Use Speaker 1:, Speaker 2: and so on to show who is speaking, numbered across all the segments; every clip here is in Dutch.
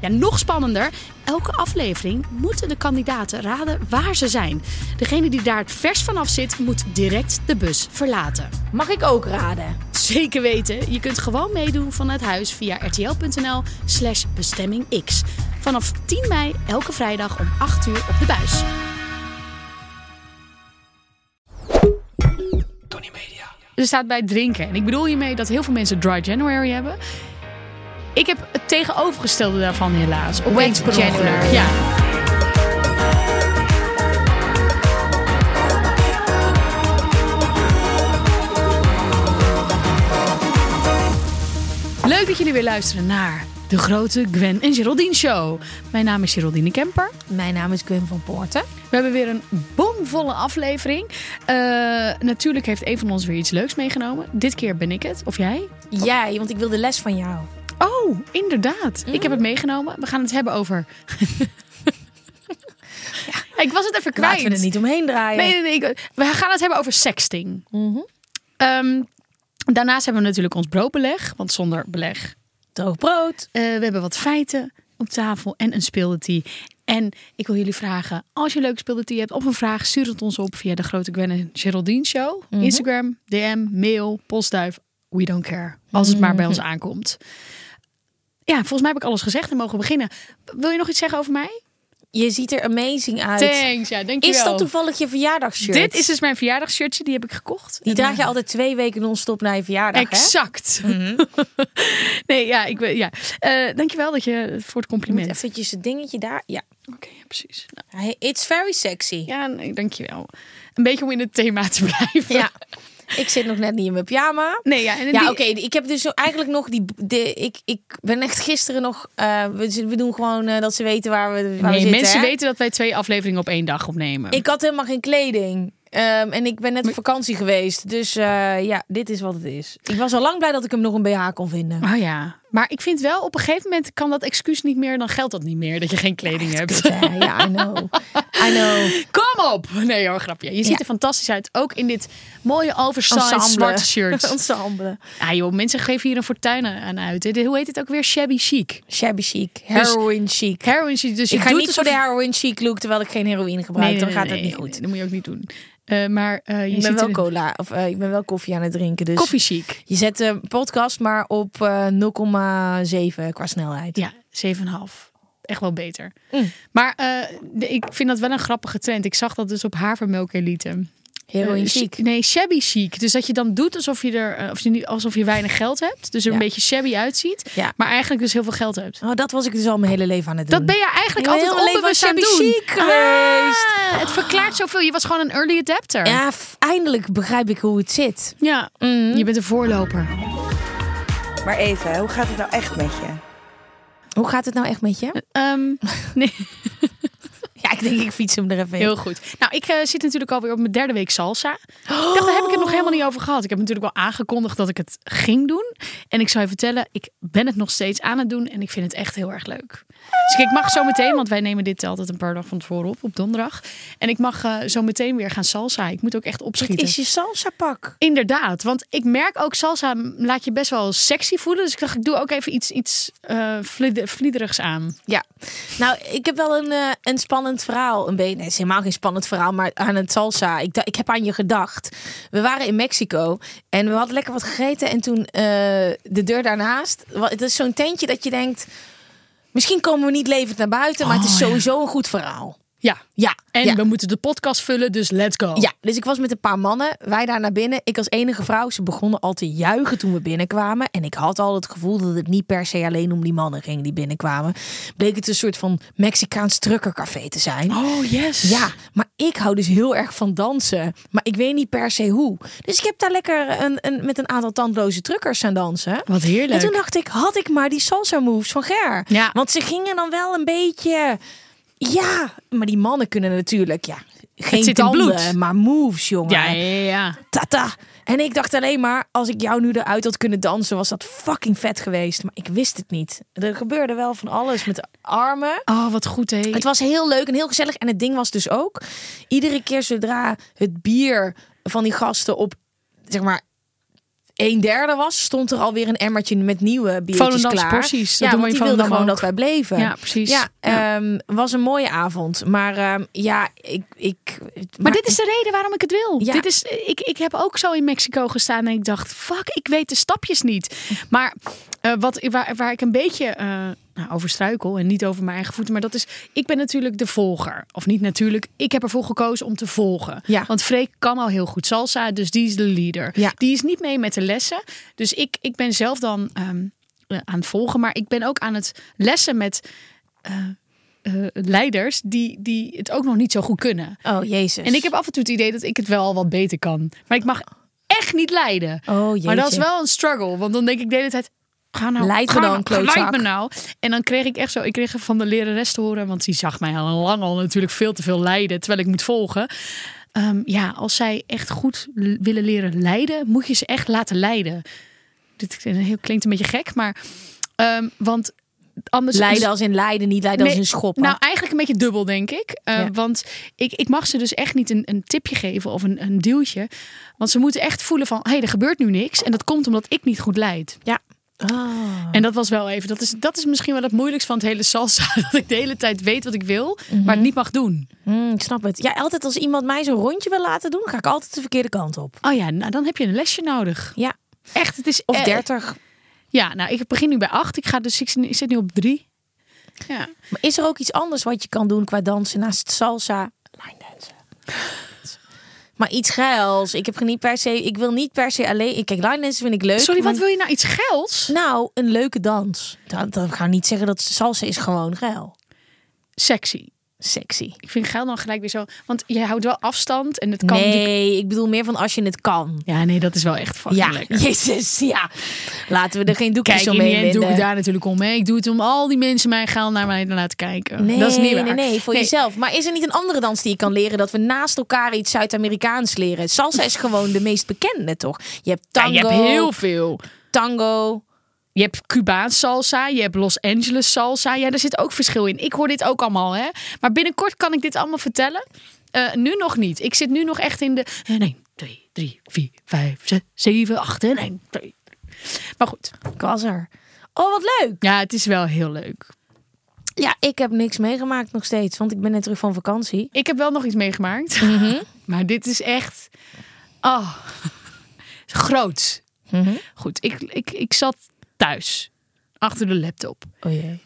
Speaker 1: Ja, nog spannender. Elke aflevering moeten de kandidaten raden waar ze zijn. Degene die daar het vers vanaf zit, moet direct de bus verlaten.
Speaker 2: Mag ik ook raden?
Speaker 1: Zeker weten. Je kunt gewoon meedoen vanuit huis via rtl.nl slash bestemmingx. Vanaf 10 mei elke vrijdag om 8 uur op de buis.
Speaker 3: Tony Media.
Speaker 1: Er staat bij drinken. En ik bedoel hiermee dat heel veel mensen dry January hebben. Ik heb het tegenovergestelde daarvan helaas. Op
Speaker 2: Wet January.
Speaker 1: Ja. Leuk dat jullie weer luisteren naar de grote Gwen en Geraldine Show. Mijn naam is Geraldine Kemper.
Speaker 2: Mijn naam is Gun van Poorten.
Speaker 1: We hebben weer een bomvolle aflevering. Eh, natuurlijk heeft een van ons weer iets leuks meegenomen. Dit keer ben ik het, of jij?
Speaker 2: Jij, want ik wil de les van jou.
Speaker 1: Oh, inderdaad. Ik
Speaker 2: Mm.
Speaker 1: heb het meegenomen. We gaan het hebben over. ja, ik was het even kwijt.
Speaker 2: Laten we er niet omheen draaien.
Speaker 1: Nee, nee, nee. ik- We gaan het hebben over sexting.
Speaker 2: Mhm.
Speaker 1: Ehm, daarnaast hebben we natuurlijk ons broodbeleg. Want zonder beleg.
Speaker 2: Droog brood.
Speaker 1: Eh, we hebben wat feiten op tafel en een speeldetie. En ik wil jullie vragen, als je een leuke speeldetie hebt of een vraag, stuur het ons op via de Grote Gwen en Geraldine Show.
Speaker 2: Mhm.
Speaker 1: Instagram, DM, mail, postduif. We don't care. Als het maar bij
Speaker 2: Mhm.
Speaker 1: ons aankomt. Ja, volgens mij heb ik alles gezegd en mogen we beginnen. Wil je nog iets zeggen over mij?
Speaker 2: Je ziet er amazing uit.
Speaker 1: Thanks, ja, dankjewel.
Speaker 2: Is dat toevallig je verjaardagsshirt?
Speaker 1: Dit is dus mijn verjaardagshirtje, die heb ik gekocht.
Speaker 2: Die
Speaker 1: En,
Speaker 2: draag je
Speaker 1: eh,
Speaker 2: altijd twee weken non-stop naar je verjaardag, hè? Mhm.
Speaker 1: Exact. nee, ja, ik ben, ja. Eh, dankjewel dat je voor het
Speaker 2: Je moet
Speaker 1: compliment.
Speaker 2: eventjes het dingetje daar... Ja,
Speaker 1: Oké, ja, precies.
Speaker 2: Hey, it's very sexy.
Speaker 1: Ja, nee, dankjewel. Een beetje om in het thema te blijven.
Speaker 2: Ja. Ik zit nog net niet in mijn pyjama.
Speaker 1: Nee, ja. En
Speaker 2: Ja,
Speaker 1: die-
Speaker 2: oké. Ik heb dus eigenlijk nog die. De, ik, ik ben echt gisteren nog. eh, we, we doen gewoon eh, dat ze weten waar we, waar we
Speaker 1: Nee,
Speaker 2: zitten.
Speaker 1: mensen
Speaker 2: hè?
Speaker 1: weten dat wij twee afleveringen op één dag opnemen.
Speaker 2: Ik had helemaal geen kleding. Ehm, en ik ben net op vakantie geweest. Dus eh, ja, dit is wat het is. Ik was al lang blij dat ik hem nog een BH kon vinden.
Speaker 1: Oh ja. Maar ik vind wel, op een gegeven moment kan dat excuus niet meer. Dan geldt dat niet meer, dat je geen kleding hebt.
Speaker 2: Kut, hè? Ja, I know. I know.
Speaker 1: Kom op! Nee hoor, grapje. Je ziet
Speaker 2: Ja.
Speaker 1: er fantastisch uit. Ook in dit mooie oversized
Speaker 2: Ensemble.
Speaker 1: zwarte shirt.
Speaker 2: Ensemble.
Speaker 1: Ah joh, mensen geven hier een fortuin aan uit. hè. De- Hoe heet het ook weer? Shabby chic.
Speaker 2: Shabby
Speaker 1: Dus-
Speaker 2: chic. Heroin chic.
Speaker 1: Heroin chic. Dus je
Speaker 2: Ik ga
Speaker 1: doet
Speaker 2: niet voor
Speaker 1: alsof
Speaker 2: de
Speaker 1: je-
Speaker 2: heroin chic look terwijl ik geen heroïne
Speaker 1: Nee,
Speaker 2: gebruik.
Speaker 1: nee,
Speaker 2: dan
Speaker 1: nee,
Speaker 2: gaat
Speaker 1: nee,
Speaker 2: het niet
Speaker 1: nee,
Speaker 2: goed.
Speaker 1: nee, dat moet je ook niet doen. Eh, maar eh, je
Speaker 2: ik ben
Speaker 1: ziet
Speaker 2: wel
Speaker 1: er-
Speaker 2: cola. Of eh, ik ben wel koffie aan het drinken. Dus
Speaker 1: Koffie chic.
Speaker 2: Je zet de podcast maar op eh 0,7 qua snelheid.
Speaker 1: Ja, 7,5. Echt wel beter.
Speaker 2: Mm.
Speaker 1: Maar eh, de- ik vind dat wel een grappige trend. Ik zag dat dus op havermelk elite.
Speaker 2: Heroïne
Speaker 1: Eh,
Speaker 2: chic.
Speaker 1: chi- Nee, shabby chic. Dus dat je dan doet alsof je, er, eh, of je, niet, alsof je weinig geld hebt. Dus er
Speaker 2: Ja.
Speaker 1: een beetje shabby uitziet.
Speaker 2: Ja.
Speaker 1: Maar eigenlijk dus heel veel geld hebt.
Speaker 2: Oh, dat was ik dus al mijn hele leven aan het doen.
Speaker 1: Dat ben je eigenlijk
Speaker 2: Ik ben
Speaker 1: altijd
Speaker 2: heel mijn
Speaker 1: onbewust aan
Speaker 2: leven
Speaker 1: het doen.
Speaker 2: shabby chic geweest.
Speaker 1: Ah, het verklaart zoveel. Je was gewoon een early adapter.
Speaker 2: Ja, Mm. f- eindelijk begrijp ik hoe het zit.
Speaker 1: Ja. Je bent een voorloper.
Speaker 4: Maar even, hoe gaat het nou echt met je?
Speaker 2: Hoe gaat het nou echt met je?
Speaker 1: Ehm, nee.
Speaker 2: Ja, ik denk ik fiets hem er even in.
Speaker 1: Heel goed. Nou, ik eh, zit natuurlijk alweer op mijn derde week salsa.
Speaker 2: Oh,
Speaker 1: Ik dacht, daar heb ik het nog helemaal niet over gehad. Ik heb natuurlijk wel aangekondigd dat ik het ging doen. En ik zou je vertellen, ik ben het nog steeds aan het doen. En ik vind het echt heel erg leuk. Dus ik mag zo meteen, want wij nemen dit altijd een paar dagen van tevoren op, op donderdag. En ik mag eh, zo meteen weer gaan salsa. Ik moet ook echt opschieten.
Speaker 2: Dit is je salsa pak.
Speaker 1: Inderdaad, want ik merk ook salsa laat je best wel sexy voelen. Dus ik dacht, ik doe ook even iets, iets eh vlieder- vliederigs aan.
Speaker 2: Ja. Nou, ik heb wel een, eh, een spannend verhaal. Een beetje, nee, het is helemaal geen spannend verhaal, maar aan het salsa. Ik, da- ik heb aan je gedacht. We waren in Mexico en we hadden lekker wat gegeten. En toen eh, de deur daarnaast. wa- Het is zo'n tentje dat je denkt... Misschien komen we niet levend naar buiten, maar het is sowieso een goed verhaal.
Speaker 1: Ja.
Speaker 2: Ja,
Speaker 1: En
Speaker 2: ja.
Speaker 1: we moeten de podcast vullen, dus let's go.
Speaker 2: Ja, dus ik was met een paar mannen. Wij daar naar binnen. Ik als enige vrouw. Ze begonnen al te juichen toen we binnenkwamen. En ik had al het gevoel dat het niet per se alleen om die mannen ging die binnenkwamen. Bleek het een soort van Mexicaans truckercafé te zijn.
Speaker 1: Oh, yes.
Speaker 2: Ja, maar ik hou dus heel erg van dansen. Maar ik weet niet per se hoe. Dus ik heb daar lekker een, een, met een aantal tandloze truckers aan dansen.
Speaker 1: Wat heerlijk.
Speaker 2: En toen dacht ik, had ik maar die salsa moves van Ger.
Speaker 1: Ja.
Speaker 2: Want ze gingen dan wel een beetje... Ja, maar die mannen kunnen natuurlijk... Ja, geen
Speaker 1: zit in bloed.
Speaker 2: tanden, maar moves, jongen.
Speaker 1: Ja, ja, ja, ja.
Speaker 2: Tata. En ik dacht alleen maar, als ik jou nu eruit had kunnen dansen, was dat fucking vet geweest. Maar ik wist het niet. Er gebeurde wel van alles met de armen.
Speaker 1: Oh, wat goed, hé.
Speaker 2: Het was heel leuk en heel gezellig. En het ding was dus ook, iedere keer zodra het bier van die gasten op, zeg maar, een derde was, stond er alweer een emmertje met nieuwe biertjes
Speaker 1: Volendams
Speaker 2: klaar.
Speaker 1: porties. Dat doen
Speaker 2: ja,
Speaker 1: we
Speaker 2: want
Speaker 1: in
Speaker 2: die wilden
Speaker 1: Volendam
Speaker 2: gewoon
Speaker 1: ook.
Speaker 2: dat wij bleven.
Speaker 1: Ja, precies.
Speaker 2: Ja,
Speaker 1: Ja.
Speaker 2: ehm, was een mooie avond. Maar ehm, ja, ik... ik
Speaker 1: Maar dit is de reden waarom ik het wil.
Speaker 2: Ja.
Speaker 1: Dit is, ik, ik heb ook zo in Mexico gestaan en ik dacht, fuck, ik weet de stapjes niet. Maar eh, wat, waar, waar ik een beetje eh, nou, over struikel en niet over mijn eigen voeten, maar dat is, ik ben natuurlijk de volger. Of niet natuurlijk, ik heb ervoor gekozen om te volgen.
Speaker 2: Ja.
Speaker 1: Want Freek kan al heel goed salsa, dus die is de leader.
Speaker 2: Ja.
Speaker 1: Die is niet mee met de lessen. Dus ik, ik ben zelf dan ehm, eh, aan het volgen, maar ik ben ook aan het lessen met... eh, eh, leiders die, die het ook nog niet zo goed kunnen.
Speaker 2: Oh, jezus.
Speaker 1: En ik heb af en toe het idee dat ik het wel al wat beter kan. Maar ik mag echt niet leiden.
Speaker 2: Oh, jeetje.
Speaker 1: maar dat is wel een struggle. Want dan denk ik de hele tijd... Ga nou,
Speaker 2: Leid me
Speaker 1: ga
Speaker 2: dan,
Speaker 1: nou,
Speaker 2: klootzak.
Speaker 1: Leid me nou. En dan kreeg ik echt zo... Ik kreeg van de lerares te horen... Want die zag mij al lang al natuurlijk veel te veel leiden. Terwijl ik moet volgen. Ehm, ja, als zij echt goed l- willen leren leiden... Moet je ze echt laten leiden. Dit klinkt een beetje gek, maar... ehm, want anders...
Speaker 2: Leiden als in Leiden, niet Leiden als
Speaker 1: dus- Nee,
Speaker 2: in Schoppen.
Speaker 1: Nou, eigenlijk een beetje dubbel, denk ik. Eh,
Speaker 2: Ja.
Speaker 1: Want ik, ik mag ze dus echt niet een, een tipje geven of een, een duwtje. Want ze moeten echt voelen van, hé, hey, er gebeurt nu niks. En dat komt omdat ik niet goed leid.
Speaker 2: ja. Ah.
Speaker 1: En dat was wel even, dat is, dat is misschien wel het moeilijkst van het hele salsa. Dat ik de hele tijd weet wat ik wil, maar het niet mag doen.
Speaker 2: Hmm, ik snap het. Ja, altijd als iemand mij zo'n rondje wil laten doen, ga ik altijd de verkeerde kant op.
Speaker 1: Oh ja, nou dan heb je een lesje nodig.
Speaker 2: Ja.
Speaker 1: Echt, het is...
Speaker 2: Of
Speaker 1: eh,
Speaker 2: 30.
Speaker 1: Ja, nou, ik begin nu bij acht. Ik, ga dus, ik zit- ik zit nu op drie. Ja.
Speaker 2: Maar is er ook iets anders wat je kan doen qua dansen naast salsa? Line dansen. Maar iets geils. Ik, heb niet per se, ik wil niet per se alleen... ik- Kijk, line dansen vind ik leuk.
Speaker 1: Sorry,
Speaker 2: maar-
Speaker 1: wat wil je nou? Iets gelds?
Speaker 2: Nou, een leuke dans. Dat, dat ga niet zeggen dat salsa is gewoon geil.
Speaker 1: Sexy.
Speaker 2: Sexy.
Speaker 1: Ik vind geil dan gelijk weer zo... Want je houdt wel afstand en het kan... je
Speaker 2: nee, ik bedoel meer van als je het kan.
Speaker 1: Ja, nee, dat is wel echt fucking
Speaker 2: Ja,
Speaker 1: lekker.
Speaker 2: jezus, ja. Laten we er geen doekjes
Speaker 1: Kijk, in
Speaker 2: omheen
Speaker 1: die end doe ik
Speaker 2: winden.
Speaker 1: daar natuurlijk om mee. Ik doe het om al die mensen mijn geil naar mij te laten kijken.
Speaker 2: Nee,
Speaker 1: dat is niet waar.
Speaker 2: nee, nee, voor jezelf. Maar is er niet een andere dans die je kan leren dat we naast elkaar iets Zuid-Amerikaans leren? Salsa is gewoon de meest bekende, toch? Je hebt
Speaker 1: Ja,
Speaker 2: tango,
Speaker 1: je hebt heel veel.
Speaker 2: tango.
Speaker 1: Je hebt Cubaans salsa, je hebt Los Angeles salsa. Ja, daar zit ook verschil in. Ik hoor dit ook allemaal, hè. Maar binnenkort kan ik dit allemaal vertellen. Eh, nu nog niet. Ik zit nu nog echt in de... eh, 1, 2, 3, 4, 5, 6, 7, 8 en 1, 2. Maar goed.
Speaker 2: Ik was er. Oh, wat leuk.
Speaker 1: Ja, het is wel heel leuk.
Speaker 2: Ja, ik heb niks meegemaakt nog steeds, want ik ben net terug van vakantie.
Speaker 1: Ik heb wel nog iets meegemaakt. Maar dit is echt. Oh, groot. Goed, ik, ik, ik zat thuis achter de laptop
Speaker 2: Oh jee.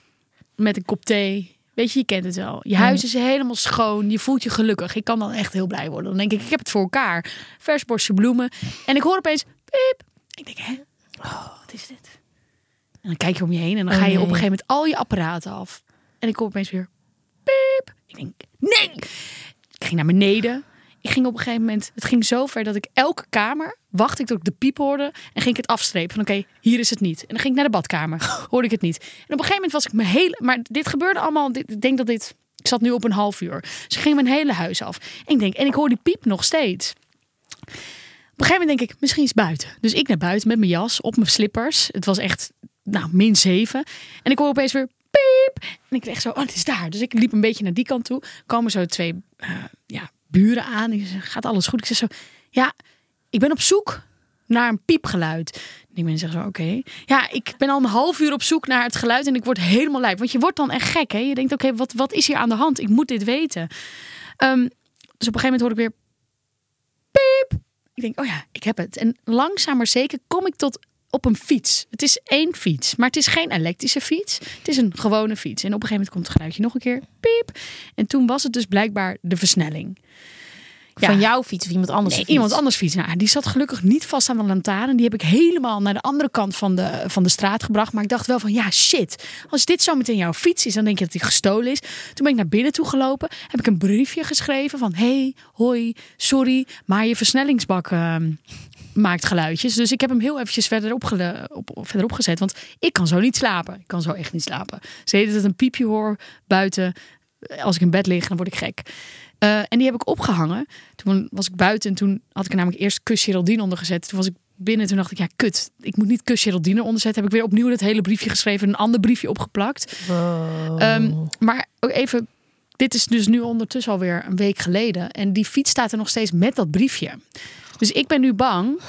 Speaker 1: met een kop thee. Weet je, je kent het wel. Je huis is helemaal schoon. Je voelt je gelukkig. Ik kan dan echt heel blij worden. Dan denk ik, ik heb het voor elkaar. Vers bosje bloemen. En ik hoor opeens, piep. Ik denk, hè? Oh, wat is dit? En dan kijk je om je heen en dan
Speaker 2: Oh,
Speaker 1: ga je op
Speaker 2: nee.
Speaker 1: een gegeven moment al je apparaten af. En ik hoor opeens weer, piep. Ik denk, nee! Ik ging naar beneden. Ik ging op een gegeven moment, het ging zo ver dat ik elke kamer wachtte ik tot ik de piep hoorde en ging ik het afstrepen van oké, hier is het niet. En dan ging ik naar de badkamer, hoorde ik het niet. En op een gegeven moment was ik mijn hele, maar dit gebeurde allemaal, dit, ik denk dat dit, ik zat nu op een half uur. Dus ik ging mijn hele huis af. En ik denk, en ik hoor die piep nog steeds. Op een gegeven moment denk ik, misschien is het buiten. Dus ik naar buiten met mijn jas, op mijn slippers. Het was echt, nou, min 7. En ik hoor opeens weer piep. En ik dacht zo, oh, het is daar. Dus ik liep een beetje naar die kant toe. Komen zo twee eh, ja, buren aan. Die zeggen, gaat alles goed? Ik zeg zo, ja, ik ben op zoek naar een piepgeluid. Die mensen zeggen zo, oké. Ja, ik ben al een half uur op zoek naar het geluid en ik word helemaal lijp. Want je wordt dan echt gek, hè? Je denkt, oké, wat, wat is hier aan de hand? Ik moet dit weten. Ehm, dus op een gegeven moment hoor ik weer piep. Ik denk, oh ja, ik heb het. En langzaam maar zeker kom ik tot op een fiets. Het is één fiets, maar het is geen elektrische fiets. Het is een gewone fiets. En op een gegeven moment komt het geluidje nog een keer. Piep. En toen was het dus blijkbaar de versnelling. Ja.
Speaker 2: Van jouw fiets of iemand anders
Speaker 1: Nee, iemand anders fiets. Nou, die zat gelukkig niet vast aan de lantaarn. Die heb ik helemaal naar de andere kant van de, van de straat gebracht. Maar ik dacht wel van, ja shit. Als dit zo meteen jouw fiets is, dan denk je dat die gestolen is. Toen ben ik naar binnen toe gelopen. Heb ik een briefje geschreven van, hey, hoi, sorry. Maar je versnellingsbak ehm, maakt geluidjes. Dus ik heb hem heel eventjes verder opgele- op, op- verder opgezet. Want ik kan zo niet slapen. Ik kan zo echt niet slapen. Ze heet het een piepje hoor buiten. eh, Als ik in bed lig, dan word ik gek. Eh, en die heb ik opgehangen. Toen was ik buiten en toen had ik er namelijk eerst kus Geraldine ondergezet. Toen was ik binnen toen dacht ik, ja kut, ik moet niet kus Geraldine onderzetten. Heb ik weer opnieuw dat hele briefje geschreven en een ander briefje opgeplakt. Ehm, maar ook even, dit is dus nu ondertussen alweer een week geleden. En die fiets staat er nog steeds met dat briefje. Dus ik ben nu bang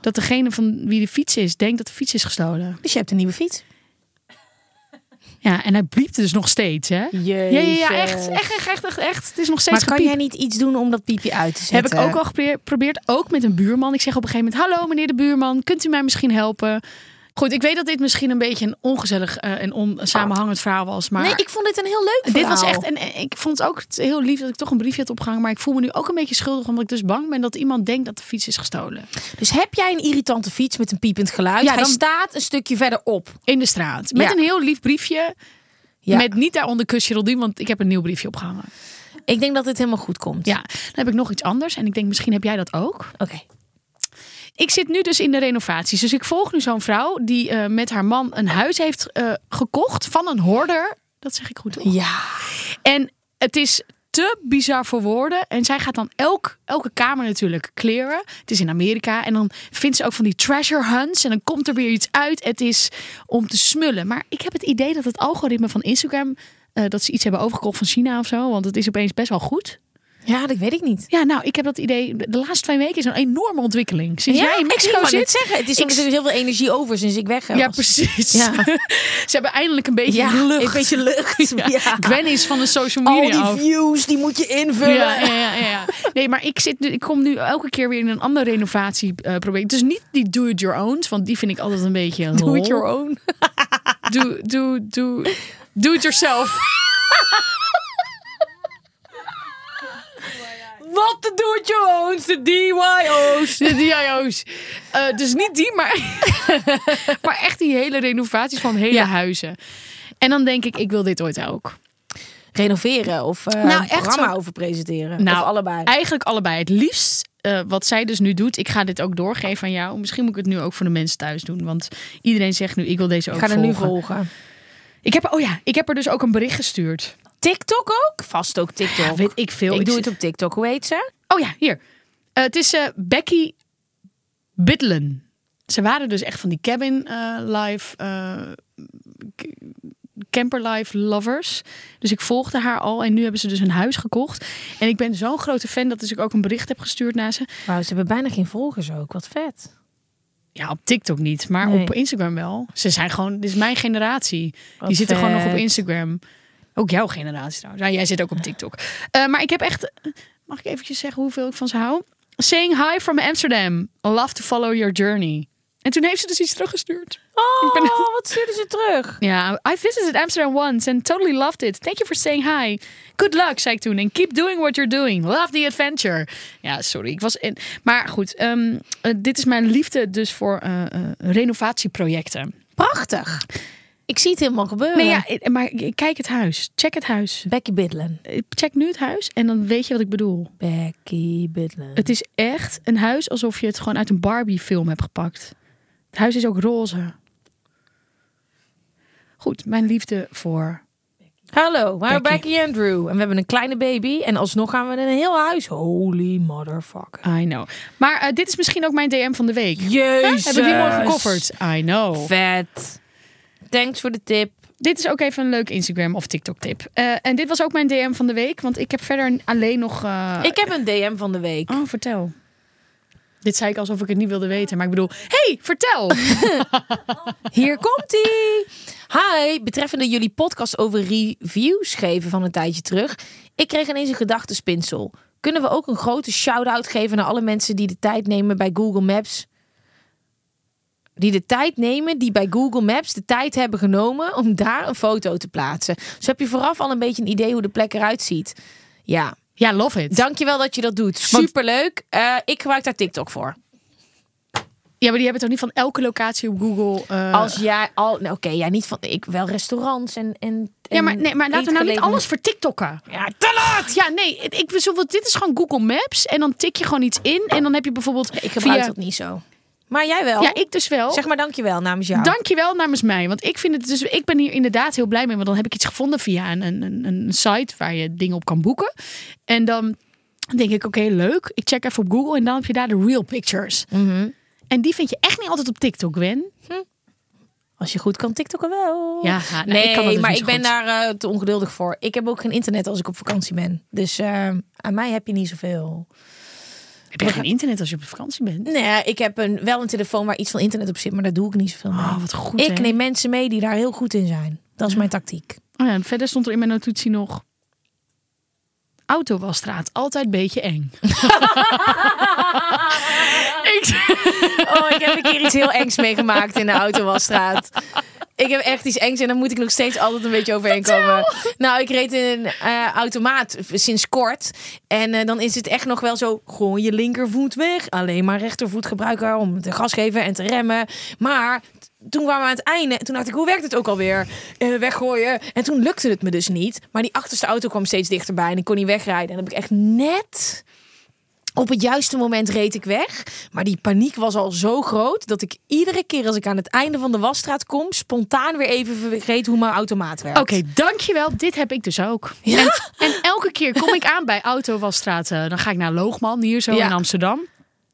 Speaker 1: dat degene van wie de fiets is, denkt dat de fiets is gestolen.
Speaker 2: Dus je hebt een nieuwe fiets.
Speaker 1: Ja, en hij bliepte dus nog steeds, hè? Ja, ja, ja, echt,
Speaker 2: Jezus.
Speaker 1: echt, echt, echt, echt, echt. Het is nog steeds
Speaker 2: Maar kan
Speaker 1: gepiep.
Speaker 2: jij niet iets doen om dat piepje uit te
Speaker 1: Heb
Speaker 2: zetten?
Speaker 1: ik ook al gepre- geprobeerd, ook met een buurman. Ik zeg op een gegeven moment: Hallo meneer de buurman, kunt u mij misschien helpen? Goed, ik weet dat dit misschien een beetje een ongezellig eh, en onsamenhangend verhaal was. Maar
Speaker 2: Nee, ik vond dit een heel leuk
Speaker 1: dit
Speaker 2: verhaal.
Speaker 1: was echt. En eh, ik vond het ook t- heel lief dat ik toch een briefje had opgehangen. Maar ik voel me nu ook een beetje schuldig, omdat ik dus bang ben dat iemand denkt dat de fiets is gestolen.
Speaker 2: Dus heb jij een irritante fiets met een piepend geluid?
Speaker 1: Ja,
Speaker 2: Hij
Speaker 1: dan-
Speaker 2: staat een stukje verderop.
Speaker 1: In de straat. Met
Speaker 2: Ja.
Speaker 1: een heel lief briefje.
Speaker 2: Ja.
Speaker 1: Met niet daaronder kus Geraldine, want ik heb een nieuw briefje opgehangen.
Speaker 2: Ik denk dat dit helemaal goed komt.
Speaker 1: Ja, dan heb ik nog iets anders. En ik denk, misschien heb jij dat ook.
Speaker 2: Oké.
Speaker 1: Ik zit nu dus in de renovaties. Dus ik volg nu zo'n vrouw die eh, met haar man een huis heeft eh, gekocht van een hoorder. Dat zeg ik goed. toch?
Speaker 2: Ja.
Speaker 1: En het is te bizar voor woorden. En zij gaat dan elk, elke kamer natuurlijk kleren. Het is in Amerika. En dan vindt ze ook van die treasure hunts. En dan komt er weer iets uit. Het is om te smullen. Maar ik heb het idee dat het algoritme van Instagram... eh, dat ze iets hebben overgekocht van China of zo. Want het is opeens best wel goed.
Speaker 2: Ja, dat weet ik niet.
Speaker 1: Ja, nou, ik heb dat idee. De de laatste twee weken is een enorme ontwikkeling. Sinds Dus jij in Mexico
Speaker 2: ik
Speaker 1: zit...
Speaker 2: het zeggen. Het is
Speaker 1: Ik-
Speaker 2: ik... heel veel energie over sinds ik weg was.
Speaker 1: Ja, precies.
Speaker 2: Ja.
Speaker 1: Ze hebben eindelijk een beetje
Speaker 2: Ja,
Speaker 1: lucht.
Speaker 2: een beetje lucht. Ja.
Speaker 1: Gwen is van de social
Speaker 2: Al
Speaker 1: media
Speaker 2: die
Speaker 1: af.
Speaker 2: views, die moet je invullen.
Speaker 1: Ja, ja, ja, ja. Nee, maar ik, zit nu, ik kom nu elke keer weer in een andere renovatie eh proberen. Dus niet die do-it-your-owns, want die vind ik altijd een beetje...
Speaker 2: Do
Speaker 1: lol.
Speaker 2: it your own.
Speaker 1: Do, do, do, do it yourself.
Speaker 2: Wat de do it your owns, de DIY's.
Speaker 1: De DIO's. Eh, dus niet die, maar, maar echt die hele renovaties van hele
Speaker 2: Ja.
Speaker 1: huizen. En dan denk ik, ik wil dit ooit ook.
Speaker 2: Renoveren of eh
Speaker 1: Nou,
Speaker 2: een
Speaker 1: echt
Speaker 2: programma
Speaker 1: zo-
Speaker 2: over presenteren.
Speaker 1: Nou,
Speaker 2: of allebei.
Speaker 1: Eigenlijk allebei. Het liefst eh, wat zij dus nu doet. Ik ga dit ook doorgeven aan jou. Misschien moet ik het nu ook voor de mensen thuis doen. Want iedereen zegt nu, ik wil deze ook
Speaker 2: Ik ga er
Speaker 1: volgen.
Speaker 2: nu volgen.
Speaker 1: Ik heb, oh ja, ik heb er dus ook een bericht gestuurd.
Speaker 2: TikTok ook? Vast ook TikTok.
Speaker 1: Ja, weet ik veel.
Speaker 2: ik, doe
Speaker 1: zit-
Speaker 2: het op TikTok. Hoe heet ze?
Speaker 1: Oh ja, hier. Eh, het is eh, Becky Bidlen. Ze waren dus echt van die cabin eh, life, eh, k- camper life lovers. Dus ik volgde haar al en nu hebben ze dus een huis gekocht. En ik ben zo'n grote fan dat dus ik ook een bericht heb gestuurd naar ze.
Speaker 2: Wauw, ze hebben bijna geen volgers ook. Wat vet.
Speaker 1: Ja, op TikTok niet, maar
Speaker 2: Nee.
Speaker 1: op Instagram wel. Ze zijn gewoon, dit is mijn generatie.
Speaker 2: Wat
Speaker 1: Die zitten gewoon nog op
Speaker 2: vet.
Speaker 1: Instagram. Ook jouw generatie trouwens. Nou, jij zit ook op TikTok. Eh, maar ik heb echt, mag ik eventjes zeggen hoeveel ik van ze hou? Saying hi from Amsterdam. Love to follow your journey. En toen heeft ze dus iets teruggestuurd.
Speaker 2: Oh,
Speaker 1: Ik ben-
Speaker 2: wat sturen ze terug?
Speaker 1: Ja, I visited Amsterdam once and totally loved it. Thank you for saying hi. Good luck, zei ik toen. And keep doing what you're doing. Love the adventure. Ja, sorry. Ik was in... Maar goed, ehm, eh, dit is mijn liefde dus voor eh, eh, renovatieprojecten.
Speaker 2: Prachtig. Ik zie het helemaal gebeuren.
Speaker 1: Nee, ja, eh, maar kijk het huis. Check het huis.
Speaker 2: Becky Bidlen.
Speaker 1: Eh, Check nu het huis en dan weet je wat ik bedoel.
Speaker 2: Becky Bidlen.
Speaker 1: Het is echt een huis alsof je het gewoon uit een Barbie-film hebt gepakt. Het huis is ook roze. Goed, mijn liefde voor
Speaker 2: Hallo, maar
Speaker 1: Becky.
Speaker 2: Becky en Drew. En we hebben een kleine baby. En alsnog gaan we een heel huis. Holy motherfucker.
Speaker 1: I know. Maar eh, dit is misschien ook mijn DM van de week.
Speaker 2: Jezus.
Speaker 1: Heb ik die mooi gecoverd? I know.
Speaker 2: Vet. Thanks voor de tip.
Speaker 1: Dit is ook even een leuk Instagram of TikTok tip. Eh, en dit was ook mijn DM van de week, want ik heb verder alleen nog. eh,
Speaker 2: Ik heb een DM van de week.
Speaker 1: Oh, vertel. Dit zei ik alsof ik het niet wilde weten, maar ik bedoel, hey, vertel.
Speaker 2: Hier komt ie. Hi, betreffende jullie podcast over reviews geven van een tijdje terug. Ik kreeg ineens een gedachtenspinsel. Kunnen we ook een grote shout-out geven naar alle mensen die de tijd nemen bij Google Maps? Die de tijd nemen, die bij Google Maps de tijd hebben genomen om daar een foto te plaatsen. Dus heb je vooraf al een beetje een idee hoe de plek eruit ziet. Ja,
Speaker 1: Ja, love it.
Speaker 2: dankjewel dat je dat doet. Superleuk. Eh, ik gebruik daar TikTok voor.
Speaker 1: Ja, maar die hebben toch niet van elke locatie op Google. eh,
Speaker 2: Als jij al, nou, oké, ja, niet van, ik wel restaurants en en.
Speaker 1: ja, maar,
Speaker 2: en
Speaker 1: nee, maar laten we nou niet
Speaker 2: eetgelegenheden.
Speaker 1: alles voor TikTokken.
Speaker 2: Ja, te laat!
Speaker 1: Ja, nee, ik ik bedoel, dit is gewoon Google Maps en dan tik je gewoon iets in en dan heb je bijvoorbeeld
Speaker 2: Ik gebruik
Speaker 1: via-
Speaker 2: dat niet zo. Maar jij wel.
Speaker 1: Ja, ik dus wel.
Speaker 2: Zeg maar dankjewel namens jou.
Speaker 1: Dankjewel namens mij. Want ik vind het dus. Ik ben hier inderdaad heel blij mee. Want dan heb ik iets gevonden via een, een, een- een site waar je dingen op kan boeken. En dan denk ik, oké, leuk. Ik check even op Google en dan heb je daar de real pictures. En die vind je echt niet altijd op TikTok, Gwen.
Speaker 2: Als je goed kan TikTokken wel.
Speaker 1: Ja, nou,
Speaker 2: nee,
Speaker 1: ik kan dat dus
Speaker 2: maar
Speaker 1: niet
Speaker 2: ik
Speaker 1: zo
Speaker 2: ben
Speaker 1: goed.
Speaker 2: daar eh, te ongeduldig voor. Ik heb ook geen internet als ik op vakantie ben. Dus eh, aan mij heb je niet zoveel.
Speaker 1: Heb je geen internet als je op vakantie bent?
Speaker 2: Nee, ik heb een, wel een telefoon waar iets van internet op zit, maar daar doe ik niet zoveel mee.
Speaker 1: Oh, wat goed.
Speaker 2: ik
Speaker 1: hè?
Speaker 2: neem mensen mee die daar heel goed in zijn. Dat is mijn tactiek.
Speaker 1: Oh ja, en verder stond er in mijn notitie nog. Autowalstraat, altijd beetje eng. ik,
Speaker 2: Oh, ik heb een keer iets heel engs meegemaakt in de autowasstraat. Ik heb echt iets engs en daar moet ik nog steeds altijd een beetje overheen komen. Nou, ik reed in een eh, automaat sinds kort. En eh, dan is het echt nog wel zo, gewoon je linkervoet weg. Alleen maar rechtervoet gebruiken om te gas geven en te remmen. Maar t- toen waren we aan het einde. en Toen dacht ik, hoe werkt het ook alweer? Eh, weggooien. En toen lukte het me dus niet. Maar die achterste auto kwam steeds dichterbij en ik kon niet wegrijden. En dan heb ik echt net... Op het juiste moment reed ik weg. Maar die paniek was al zo groot dat ik iedere keer als ik aan het einde van de wasstraat kom, spontaan weer even vergeet hoe mijn automaat werkt.
Speaker 1: Oké, dankjewel. Dit heb ik dus ook. En, en elke keer kom ik aan bij Autowasstraat. eh, Dan ga ik naar Loogman, hier zo
Speaker 2: Ja.
Speaker 1: in Amsterdam.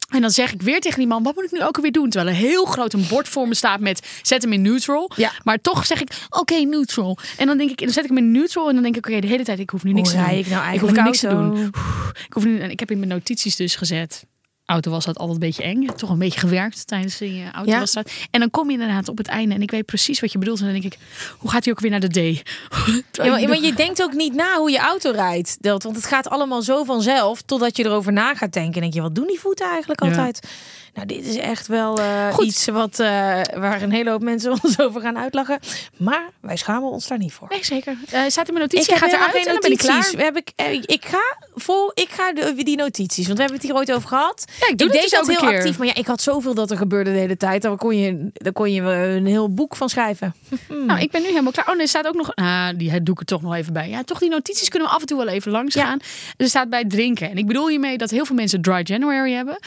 Speaker 1: En dan zeg ik weer tegen die man, wat moet ik nu ook alweer doen? Terwijl er heel groot een bord voor me staat met, zet hem in neutral.
Speaker 2: Ja.
Speaker 1: Maar toch zeg ik, oké, neutral. En dan, denk ik, dan zet ik hem in neutral en dan denk ik, oké, de hele tijd, ik hoef nu niks
Speaker 2: Hoe
Speaker 1: te
Speaker 2: rij
Speaker 1: doen.
Speaker 2: ik nou
Speaker 1: hoef
Speaker 2: eigenlijk
Speaker 1: nu niks te
Speaker 2: auto?
Speaker 1: doen. Oeh, Ik, hoef nu, en ik heb in mijn notities dus gezet, auto was dat altijd een beetje eng. Toch een beetje gewerkt tijdens die eh, auto
Speaker 2: Ja.
Speaker 1: was dat. En dan kom je inderdaad op het einde en ik weet precies wat je bedoelt. En dan denk ik, hoe gaat hij ook weer naar de D?
Speaker 2: Ja,
Speaker 1: Terwijl
Speaker 2: maar,
Speaker 1: je
Speaker 2: maar je denkt ook niet na hoe je auto rijdt. Dat, want het gaat allemaal zo vanzelf totdat je erover na gaat denken. En denk je, wat doen die voeten eigenlijk
Speaker 1: Ja.
Speaker 2: altijd? Nou, dit is echt wel eh,
Speaker 1: Goed.
Speaker 2: iets wat, eh, waar een hele hoop mensen ons over gaan uitlachen. Maar wij schamen ons daar niet voor.
Speaker 1: Nee, zeker. Eh staat in mijn notitie.
Speaker 2: heb
Speaker 1: gaat
Speaker 2: helemaal
Speaker 1: eruit en dan ben ik klaar.
Speaker 2: We hebben, eh, ik ga vol, ik ga de, die notities, want we hebben het hier ooit over gehad.
Speaker 1: Ja, ik doe dat dus
Speaker 2: deed dat
Speaker 1: elke
Speaker 2: heel
Speaker 1: keer.
Speaker 2: actief, maar ja, ik had zoveel dat er gebeurde de hele tijd. Daar kon je, daar kon je een heel boek van schrijven.
Speaker 1: Nou, ik ben nu helemaal klaar. Oh, nee, er staat ook nog... Ah, die doe ik er toch nog even bij. Ja, toch die notities kunnen we af en toe wel even langs gaan. Er staat bij drinken. En ik bedoel hiermee dat heel veel mensen dry January hebben.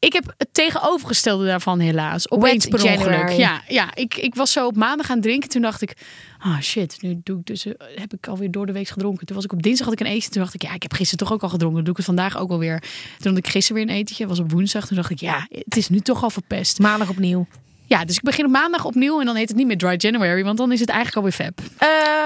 Speaker 1: Ik heb het tegenovergestelde daarvan helaas. Opeens
Speaker 2: Wet
Speaker 1: per ongeluk.
Speaker 2: January.
Speaker 1: Ja, ja ik, ik was zo op maandag gaan drinken. Toen dacht ik, ah shit, nu doe ik dus, eh, heb ik alweer door de week gedronken. Toen was ik op dinsdag had ik een etentje. Toen dacht ik, ja, ik heb gisteren toch ook al gedronken. doe ik het vandaag ook alweer. Toen had ik gisteren weer een etentje. was op woensdag. Toen dacht ik, ja, het is nu toch al verpest.
Speaker 2: Maandag opnieuw.
Speaker 1: Ja, dus ik begin op maandag opnieuw en dan heet het niet meer Dry January, want dan is het eigenlijk alweer fab.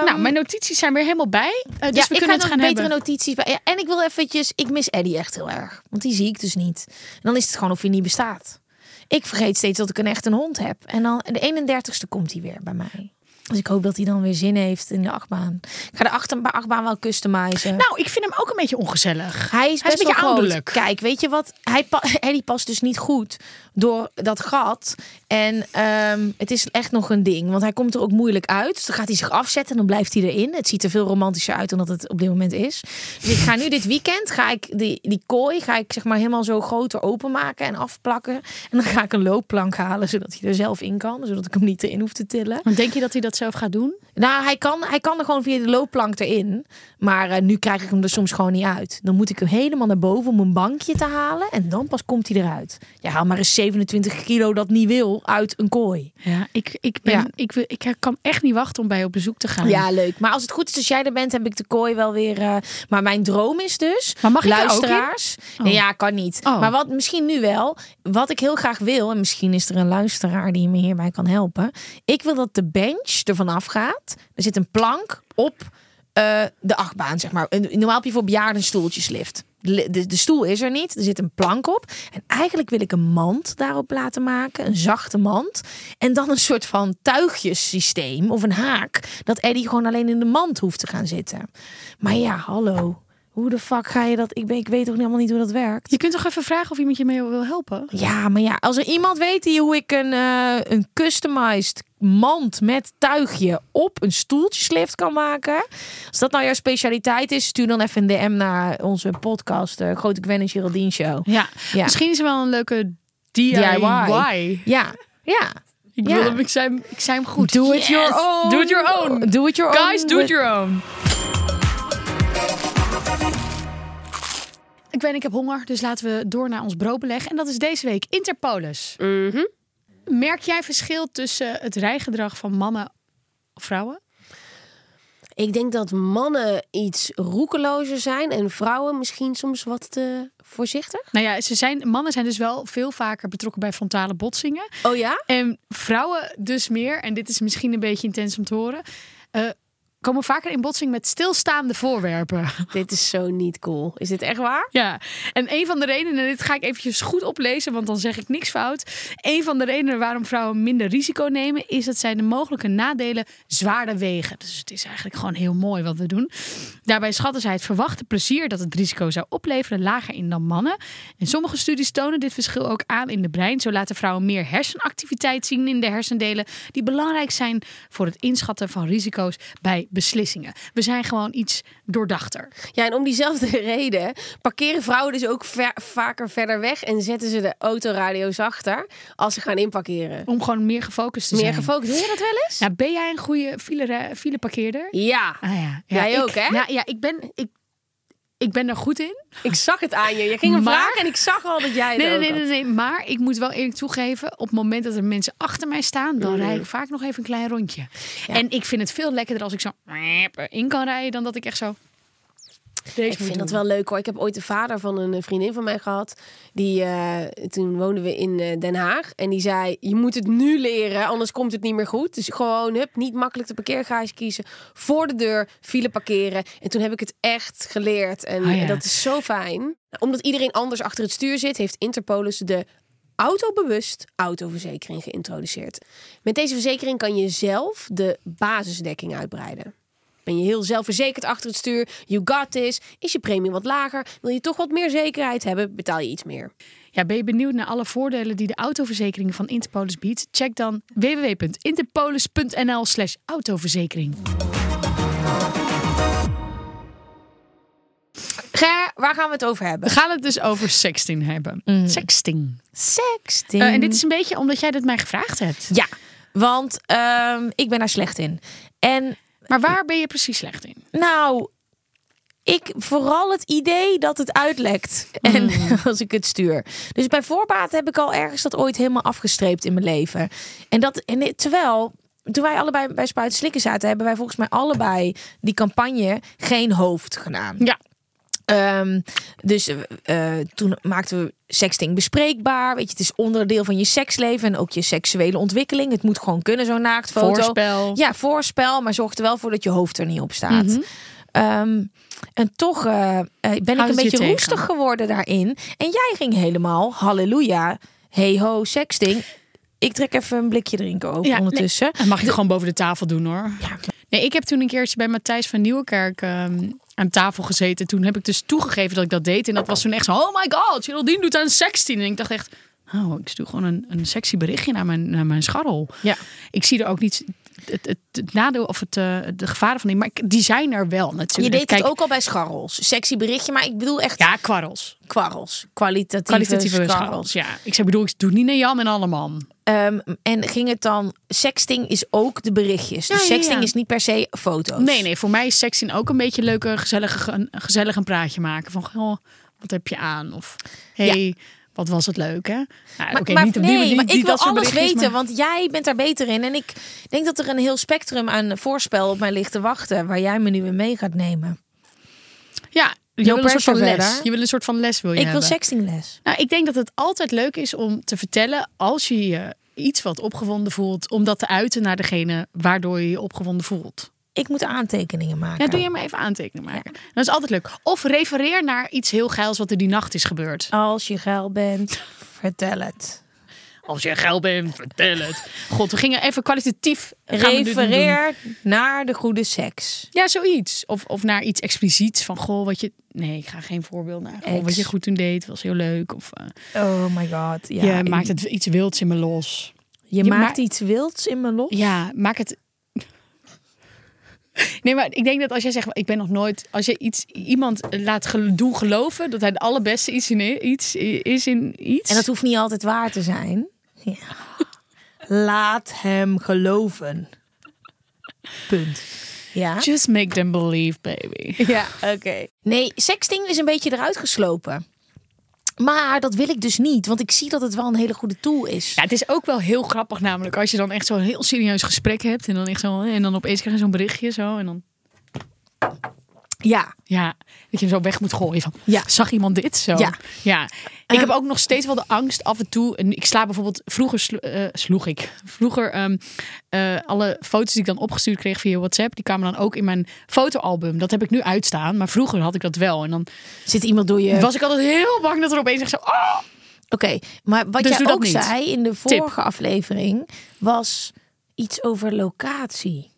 Speaker 1: nou, mijn notities zijn weer helemaal bij, eh, dus
Speaker 2: Eh, ja,
Speaker 1: we
Speaker 2: ik
Speaker 1: kunnen
Speaker 2: ga
Speaker 1: het
Speaker 2: nog
Speaker 1: gaan
Speaker 2: betere
Speaker 1: hebben.
Speaker 2: notities bij. Ja, en ik wil eventjes, ik mis Eddie echt heel erg, want die zie ik dus niet. En dan is het gewoon of hij niet bestaat. Ik vergeet steeds dat ik een echt een hond heb. En dan de 31ste komt hij weer bij mij. Dus ik hoop dat hij dan weer zin heeft in de achtbaan. Ik ga de achter- achtbaan wel customizen.
Speaker 1: nou, ik vind hem ook een beetje ongezellig.
Speaker 2: Hij is best
Speaker 1: Hij is een beetje
Speaker 2: wel groot.
Speaker 1: ouderlijk.
Speaker 2: Kijk, weet je wat? Hij pa Eddie past dus niet goed door dat gat. En ehm, het is echt nog een ding. Want hij komt er ook moeilijk uit. Dus dan gaat hij zich afzetten en dan blijft hij erin. Het ziet er veel romantischer uit dan dat het op dit moment is. Dus ik ga nu dit weekend, ga ik die, die kooi, ga ik zeg maar helemaal zo groter openmaken en afplakken. En dan ga ik een loopplank halen, zodat hij er zelf in kan. Zodat ik hem niet erin hoef te tillen.
Speaker 1: Want denk je dat hij dat zelf gaat doen?
Speaker 2: Nou, hij kan, hij kan er gewoon via de loopplank erin. Maar eh, nu krijg ik hem er soms gewoon niet uit. Dan moet ik hem helemaal naar boven om een bankje te halen. En dan pas komt hij eruit. Ja, haal maar eens 27 kilo dat niet wil uit een kooi.
Speaker 1: Ja, ik, ik, ben,
Speaker 2: Ja.
Speaker 1: Ik, wil- ik kan echt niet wachten om bij je op bezoek te gaan.
Speaker 2: Ja, leuk. Maar als het goed is als jij er bent, heb ik de kooi wel weer. eh, maar mijn droom is dus.
Speaker 1: Maar mag ik er ook in?
Speaker 2: luisteraars. Nee, ja, kan niet.
Speaker 1: Oh.
Speaker 2: Maar wat misschien nu wel. Wat ik heel graag wil. En misschien is er een luisteraar die me hierbij kan helpen. Ik wil dat de bench ervan afgaat. Er zit een plank op eh, de achtbaan, zeg maar. Een- Normaal heb je voor bejaarden stoeltjeslift. De, de, de stoel is er niet, er zit een plank op. En eigenlijk wil ik een mand daarop laten maken, een zachte mand. En dan een soort van tuigjesysteem of een haak. Dat Eddie gewoon alleen in de mand hoeft te gaan zitten. Maar ja, hallo. Hoe de fuck ga je dat? Ik, ben, ik weet ook helemaal niet hoe dat werkt.
Speaker 1: Je kunt toch even vragen of iemand je mee wil helpen?
Speaker 2: Ja, maar ja, als er iemand weet die hoe ik een, eh, een customized mand met tuigje op een stoeltjeslift kan maken. Als dat nou jouw specialiteit is, stuur dan even een DM naar onze podcast, eh, Grote Gwen en Geraldine Show.
Speaker 1: Ja.
Speaker 2: Ja.
Speaker 1: Misschien is er wel een leuke DIY.
Speaker 2: Ja, ja.
Speaker 1: Ik,
Speaker 2: Ja.
Speaker 1: wil hem, ik, zei hem, ik zei hem goed.
Speaker 2: Do it your
Speaker 1: Yes!
Speaker 2: own.
Speaker 1: Do it your own.
Speaker 2: Do it your
Speaker 1: Guys,
Speaker 2: own.
Speaker 1: do it your own. Ik ben, ik heb honger, dus laten we door naar ons broodbeleg. En dat is deze week Interpolis.
Speaker 3: Mhm.
Speaker 1: Merk jij verschil tussen het rijgedrag van mannen of vrouwen?
Speaker 3: Ik denk dat mannen iets roekelozer zijn en vrouwen misschien soms wat te voorzichtig.
Speaker 1: Nou ja, ze zijn, mannen zijn dus wel veel vaker betrokken bij frontale botsingen.
Speaker 3: Oh ja?
Speaker 1: En vrouwen dus meer, en dit is misschien een beetje intens om te horen... eh, komen vaker in botsing met stilstaande voorwerpen.
Speaker 3: Dit is zo niet cool. Is dit echt waar?
Speaker 1: Ja, en een van de redenen, en dit ga ik eventjes goed oplezen, want dan zeg ik niks fout. Een van de redenen waarom vrouwen minder risico nemen, is dat zij de mogelijke nadelen zwaarder wegen. Dus het is eigenlijk gewoon heel mooi wat we doen. Daarbij schatten zij het verwachte plezier dat het risico zou opleveren lager in dan mannen. En sommige studies tonen dit verschil ook aan in de brein. Zo laten vrouwen meer hersenactiviteit zien in de hersendelen die belangrijk zijn voor het inschatten van risico's bij beslissingen. We zijn gewoon iets doordachter.
Speaker 3: Ja, en om diezelfde reden parkeren vrouwen dus ook ver- vaker verder weg en zetten ze de autoradio zachter als ze gaan inparkeren.
Speaker 1: Om gewoon meer gefocust te
Speaker 3: Meer
Speaker 1: zijn.
Speaker 3: gefocust. Doe je dat wel eens?
Speaker 1: Ja, Nou, ben jij een goede file, fileparkeerder?
Speaker 3: Ja.
Speaker 1: Ah ja.
Speaker 3: Jij
Speaker 1: ik-
Speaker 3: ook, hè?
Speaker 1: Nou, ja, ik ben, ik, ik ben er goed in.
Speaker 3: Ik zag het aan je. Je ging hem
Speaker 1: Maar-
Speaker 3: vragen en ik zag al dat jij het
Speaker 1: Nee, nee,
Speaker 3: ook
Speaker 1: nee, nee,
Speaker 3: had.
Speaker 1: nee. Maar ik moet wel eerlijk toegeven, op het moment dat er mensen achter mij staan,
Speaker 3: Mhm.
Speaker 1: dan rijd ik vaak nog even een klein rondje. En ik vind het veel lekkerder als ik zo in kan rijden, dan dat ik echt zo... Deze
Speaker 3: Ik vind dat wel leuk hoor. Ik heb ooit de vader van een eh, vriendin van mij gehad. Die, eh, toen woonden we in eh, Den Haag. En die zei, je moet het nu leren, anders komt het niet meer goed. Dus gewoon, hup, niet makkelijk de parkeergarage kiezen. Voor de deur, file parkeren. En toen heb ik het echt geleerd. En
Speaker 1: Ah, ja.
Speaker 3: eh, dat is zo fijn. Omdat iedereen anders achter het stuur zit, heeft Interpolis de autobewust autoverzekering geïntroduceerd. Met deze verzekering kan je zelf de basisdekking uitbreiden. Ben je heel zelfverzekerd achter het stuur? You got this. Is je premie wat lager? Wil je toch wat meer zekerheid hebben? Betaal je iets meer.
Speaker 1: Ja, ben je benieuwd naar alle voordelen die de autoverzekering van Interpolis biedt? Check dan www.interpolis.nl slash autoverzekering.
Speaker 3: Ger, waar gaan we het over hebben?
Speaker 1: We gaan het dus over sexting hebben.
Speaker 3: Mhm.
Speaker 1: Sexting.
Speaker 3: Sexting.
Speaker 1: Eh, en dit is een beetje omdat jij dit mij gevraagd hebt.
Speaker 2: Ja, want ehm, ik ben daar slecht in. En
Speaker 1: Maar waar ben je precies slecht in?
Speaker 2: nou, ik vooral het idee dat het uitlekt. En
Speaker 1: Mm.
Speaker 2: als ik het stuur. Dus bij voorbaat heb ik al ergens dat ooit helemaal afgestreept in mijn leven. En dat, en dit- terwijl. Toen wij allebei bij Spuit Slikken zaten, hebben wij volgens mij allebei die campagne geen hoofd gedaan.
Speaker 1: Ja.
Speaker 2: Ehm, dus eh, eh, toen maakten we sexting bespreekbaar. Weet je, het is onderdeel van je seksleven en ook je seksuele ontwikkeling. Het moet gewoon kunnen, zo'n naaktfoto.
Speaker 1: Voorspel. Mhm.
Speaker 2: Ja, voorspel, maar zorg er wel voor dat je hoofd er niet op staat. Ehm, en toch eh, eh, ben
Speaker 1: Houdt
Speaker 2: ik
Speaker 1: het
Speaker 2: een
Speaker 1: je
Speaker 2: beetje
Speaker 1: tegen?
Speaker 2: roestig geworden daarin. En jij ging helemaal, halleluja, hey ho, sexting. Ik trek even een blikje drinken over
Speaker 1: Ja,
Speaker 2: ondertussen.
Speaker 1: Dat mag ik gewoon boven de tafel doen hoor.
Speaker 2: Ja.
Speaker 1: Nee, ik heb toen een keertje bij Matthijs van Nieuwkerk ehm, aan tafel gezeten. Toen heb ik dus toegegeven dat ik dat deed. En dat was toen echt zo, oh my god, Geraldine doet aan 16. En ik dacht echt, oh, ik stuur gewoon een, een sexy berichtje naar mijn, naar mijn scharrel.
Speaker 2: Ja.
Speaker 1: Ik zie er ook niet het, het, het nadeel of het, eh, de gevaren van in. Maar ik- die zijn er wel
Speaker 3: Je
Speaker 1: natuurlijk.
Speaker 3: deed
Speaker 1: Kijk,
Speaker 3: het ook al bij scharrels. Sexy berichtje, maar ik bedoel echt
Speaker 1: Ja, kwarrels.
Speaker 3: kwarrels. Kwalitatieve,
Speaker 1: Kwalitatieve
Speaker 3: scharrels.
Speaker 1: scharrels. Ja, ik zei, bedoel, ik doe het niet naar Jan en Alleman.
Speaker 2: Ehm, en ging het dan, sexting is ook de berichtjes. Dus
Speaker 1: Ja, ja, ja.
Speaker 2: sexting is niet per se foto's.
Speaker 1: Nee, nee, voor mij is sexting ook een beetje leuk, eh, gezellig, een, gezellig een praatje maken. Van, goh, wat heb je aan? Of, hey, wat was het leuk, hè? Nou,
Speaker 2: Maar,
Speaker 1: oké,
Speaker 2: maar
Speaker 1: niet op die
Speaker 2: nee,
Speaker 1: manier,
Speaker 2: maar
Speaker 1: niet
Speaker 2: ik wil
Speaker 1: dat soort
Speaker 2: alles
Speaker 1: berichtjes,
Speaker 2: weten,
Speaker 1: maar-
Speaker 2: want jij bent daar beter in. En ik denk dat er een heel spectrum aan voorspel op mij ligt te wachten, waar jij me nu in mee gaat nemen.
Speaker 1: Ja, je
Speaker 2: No
Speaker 1: wil een soort van
Speaker 2: pressure
Speaker 1: les.
Speaker 2: verder.
Speaker 1: Je wil een soort van les, wil je
Speaker 2: ik wil
Speaker 1: hebben.
Speaker 2: sextingles.
Speaker 1: Nou, ik denk dat het altijd leuk is om te vertellen als je je iets wat opgewonden voelt, om dat te uiten naar degene waardoor je je opgewonden voelt.
Speaker 2: Ik moet aantekeningen maken.
Speaker 1: Ja, doe je maar even aantekeningen maken. Dat is altijd leuk. Of refereer naar iets heel geils wat er die nacht is gebeurd.
Speaker 2: Als je geil bent, vertel het.
Speaker 1: Als je geil bent, vertel het. God, we gingen even kwalitatief gaan we dit doen.
Speaker 2: Refereer naar de goede seks.
Speaker 1: Ja, zoiets. Of, of naar iets expliciets van goh, wat je. Nee, ik ga geen voorbeeld naar. Goh, wat
Speaker 2: Ex.
Speaker 1: je goed toen deed, was heel leuk. Of eh,
Speaker 2: Oh my god. Ja,
Speaker 1: je maakt het iets wilds in me los.
Speaker 2: je
Speaker 1: je
Speaker 2: maakt
Speaker 1: ma-
Speaker 2: iets wilds in me los.
Speaker 1: Ja, maak het. Nee, maar ik denk dat als jij zegt, ik ben nog nooit. Als je iets, iemand laat gel- doen geloven dat hij de allerbeste iets in iets, is in iets.
Speaker 2: En dat hoeft niet altijd waar te zijn. Ja. Laat hem geloven. Punt. Ja.
Speaker 1: Just make them believe, baby.
Speaker 2: Ja, oké. Nee, sexting is een beetje eruit geslopen. Maar dat wil ik dus niet, want ik zie dat het wel een hele goede tool is.
Speaker 1: Ja, het is ook wel heel grappig namelijk als je dan echt zo'n heel serieus gesprek hebt en dan echt zo en dan opeens krijg je zo'n berichtje zo en dan
Speaker 2: Ja,
Speaker 1: ja dat je hem zo weg moet gooien van
Speaker 2: Ja.
Speaker 1: zag iemand dit zo
Speaker 2: Ja.
Speaker 1: ja. Ehm, ik heb ook nog steeds wel de angst af en toe en ik sla bijvoorbeeld vroeger slo- eh, sloeg ik vroeger ehm, eh, alle foto's die ik dan opgestuurd kreeg via WhatsApp die kwamen dan ook in mijn fotoalbum dat heb ik nu uitstaan maar vroeger had ik dat wel en dan
Speaker 2: zit iemand door je...
Speaker 1: was ik altijd heel bang dat er opeens echt zo oh!
Speaker 2: Oké, maar
Speaker 1: Dus
Speaker 2: wat
Speaker 1: doe
Speaker 2: jij
Speaker 1: dat
Speaker 2: ook
Speaker 1: niet.
Speaker 2: zei in de vorige aflevering was iets over locatie.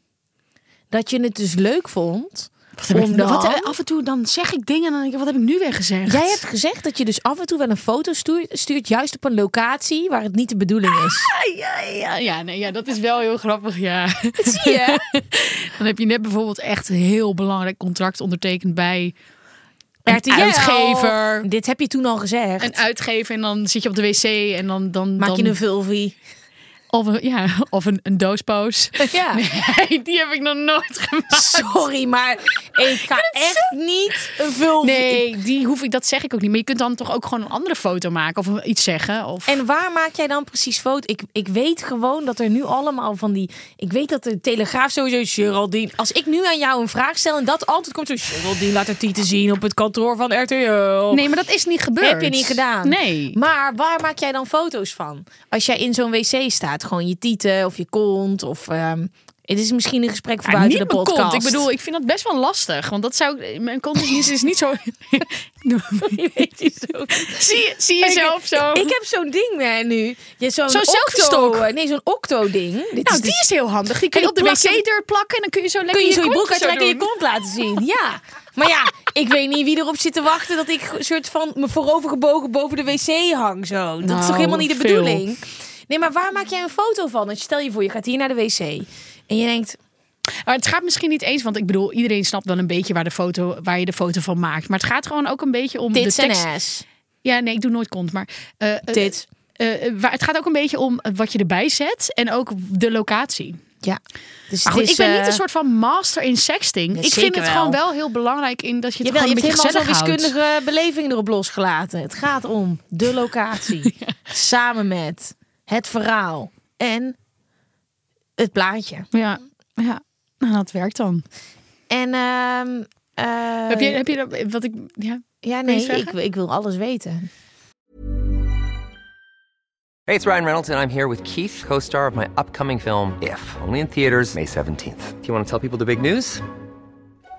Speaker 2: Dat je het dus leuk vond.
Speaker 1: wat heb ik
Speaker 2: Om dan-
Speaker 1: wat, eh, af en toe dan zeg ik dingen en dan denk ik wat heb ik nu weer gezegd
Speaker 2: Jij hebt gezegd dat je dus af en toe wel een foto stuurt, stuurt juist op een locatie waar het niet de bedoeling
Speaker 1: Ah,
Speaker 2: is.
Speaker 1: Ja, ja, ja, nee, ja, dat is wel heel grappig, ja.
Speaker 2: Zie je?
Speaker 1: Dan heb je net bijvoorbeeld echt een heel belangrijk contract ondertekend bij
Speaker 2: RTL.
Speaker 1: uitgever.
Speaker 2: Dit heb je toen al gezegd.
Speaker 1: een uitgever en dan zit je op de wc en dan... dan
Speaker 2: Maak
Speaker 1: dan,
Speaker 2: je een vulvie.
Speaker 1: Of een, ja, of een, een doospoos.
Speaker 2: Ja.
Speaker 1: Nee, die heb ik nog nooit gemaakt.
Speaker 2: Sorry, maar ik ga echt niet een vulvie.
Speaker 1: Nee, die hoef ik, dat zeg ik ook niet. Maar je kunt dan toch ook gewoon een andere foto maken of iets zeggen. Of...
Speaker 2: En waar maak jij dan precies foto? Ik, ik weet gewoon dat er nu allemaal van die... Ik weet dat de Telegraaf sowieso Geraldine... Als ik nu aan jou een vraag stel en dat altijd komt zo... Geraldine laat haar tieten zien op het kantoor van RTL.
Speaker 1: Nee, maar dat is niet gebeurd.
Speaker 2: Heb je niet gedaan.
Speaker 1: Nee.
Speaker 2: Maar waar maak jij dan foto's van? Als jij in zo'n wc staat, gewoon je tieten of je kont of... ehm, het is misschien een gesprek voor
Speaker 1: Ja,
Speaker 2: buiten
Speaker 1: niet
Speaker 2: de
Speaker 1: mijn
Speaker 2: podcast.
Speaker 1: kont. Ik bedoel, ik vind dat best wel lastig. Want dat zou ik- mijn kont is niet, is niet zo. zie, je- zie
Speaker 2: Ik-
Speaker 1: jezelf zo.
Speaker 2: Ik, heb zo'n ding eh, nu. Je zo'n
Speaker 1: Zo'n
Speaker 2: octo,
Speaker 1: selfiestok.
Speaker 2: eh, Nee, zo'n octo-ding. Dit
Speaker 1: nou,
Speaker 2: is
Speaker 1: die is heel handig. Die kun
Speaker 2: En
Speaker 1: je
Speaker 2: die
Speaker 1: op de
Speaker 2: plak je-
Speaker 1: wc-deur plakken en dan kun je zo lekker
Speaker 2: kun je zo je broek
Speaker 1: kontje
Speaker 2: uittrekken en je
Speaker 1: doen.
Speaker 2: kont laten zien. Ja. Maar ja, ik weet niet wie erop zit te wachten dat ik een soort van me voorovergebogen boven de wc hang zo. Dat is toch
Speaker 1: Nou,
Speaker 2: helemaal niet de
Speaker 1: veel.
Speaker 2: bedoeling? Nee, maar waar maak jij een foto van? Want Stel je voor, je gaat hier naar de wc en je denkt,
Speaker 1: Maar het gaat misschien niet eens, want ik bedoel, iedereen snapt wel een beetje waar, de foto, waar je de foto van maakt. Maar het gaat gewoon ook een beetje om
Speaker 2: dit
Speaker 1: de
Speaker 2: zijn
Speaker 1: tekst.
Speaker 2: ass.
Speaker 1: Ja, nee, ik doe nooit kont, maar eh, eh,
Speaker 2: Dit.
Speaker 1: eh, eh, waar- het gaat ook een beetje om eh, wat je erbij zet en ook de locatie.
Speaker 2: Ja. Dus
Speaker 1: Maar goed,
Speaker 2: het is,
Speaker 1: ik ben niet
Speaker 2: eh,
Speaker 1: een soort van master in sexting.
Speaker 2: Ja,
Speaker 1: ik vind
Speaker 2: zeker
Speaker 1: het gewoon
Speaker 2: wel.
Speaker 1: wel heel belangrijk in dat je het
Speaker 2: Jawel, je
Speaker 1: gewoon
Speaker 2: hebt
Speaker 1: een beetje
Speaker 2: helemaal zo'n
Speaker 1: gezellig houdt.
Speaker 2: wiskundige beleving erop losgelaten. Het gaat om de locatie. Samen met het verhaal en het plaatje.
Speaker 1: Ja, ja. Nou, dat werkt dan.
Speaker 2: En ehm, eh,
Speaker 1: heb je, heb je dat, wat ik, ja.
Speaker 2: ja,
Speaker 1: je
Speaker 2: nee,
Speaker 1: iets
Speaker 2: ik,
Speaker 1: zeggen?
Speaker 2: ik wil alles weten.
Speaker 5: Hey, it's Ryan Reynolds, and I'm here with Keith, co star of my upcoming film, If, only in theaters, May 17th. Do you want to tell people the big news?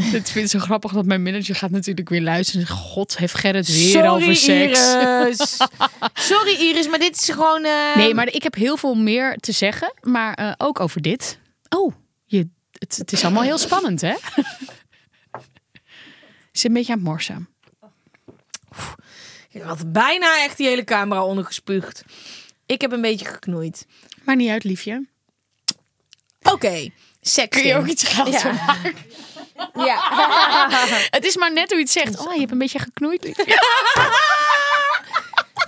Speaker 1: Het vindt zo grappig dat mijn manager gaat natuurlijk weer luisteren. en zegt, God, heeft Gerrit weer
Speaker 2: Sorry,
Speaker 1: over seks.
Speaker 2: Iris. Sorry, Iris, maar dit is gewoon... eh,
Speaker 1: Nee, maar ik heb heel veel meer te zeggen, maar eh, ook over dit. Oh, je, het, het is allemaal heel spannend, hè? Is een beetje aan het morsen.
Speaker 2: Ik had bijna echt die hele camera ondergespuugd. Ik heb een beetje geknoeid.
Speaker 1: Maar niet uit, liefje.
Speaker 2: Oké, seks.
Speaker 1: Kun je ook iets geld
Speaker 2: Ja.
Speaker 1: van maken?
Speaker 2: Ja.
Speaker 1: Het is maar net hoe je het zegt. Oh, je hebt een beetje geknoeid. liefje.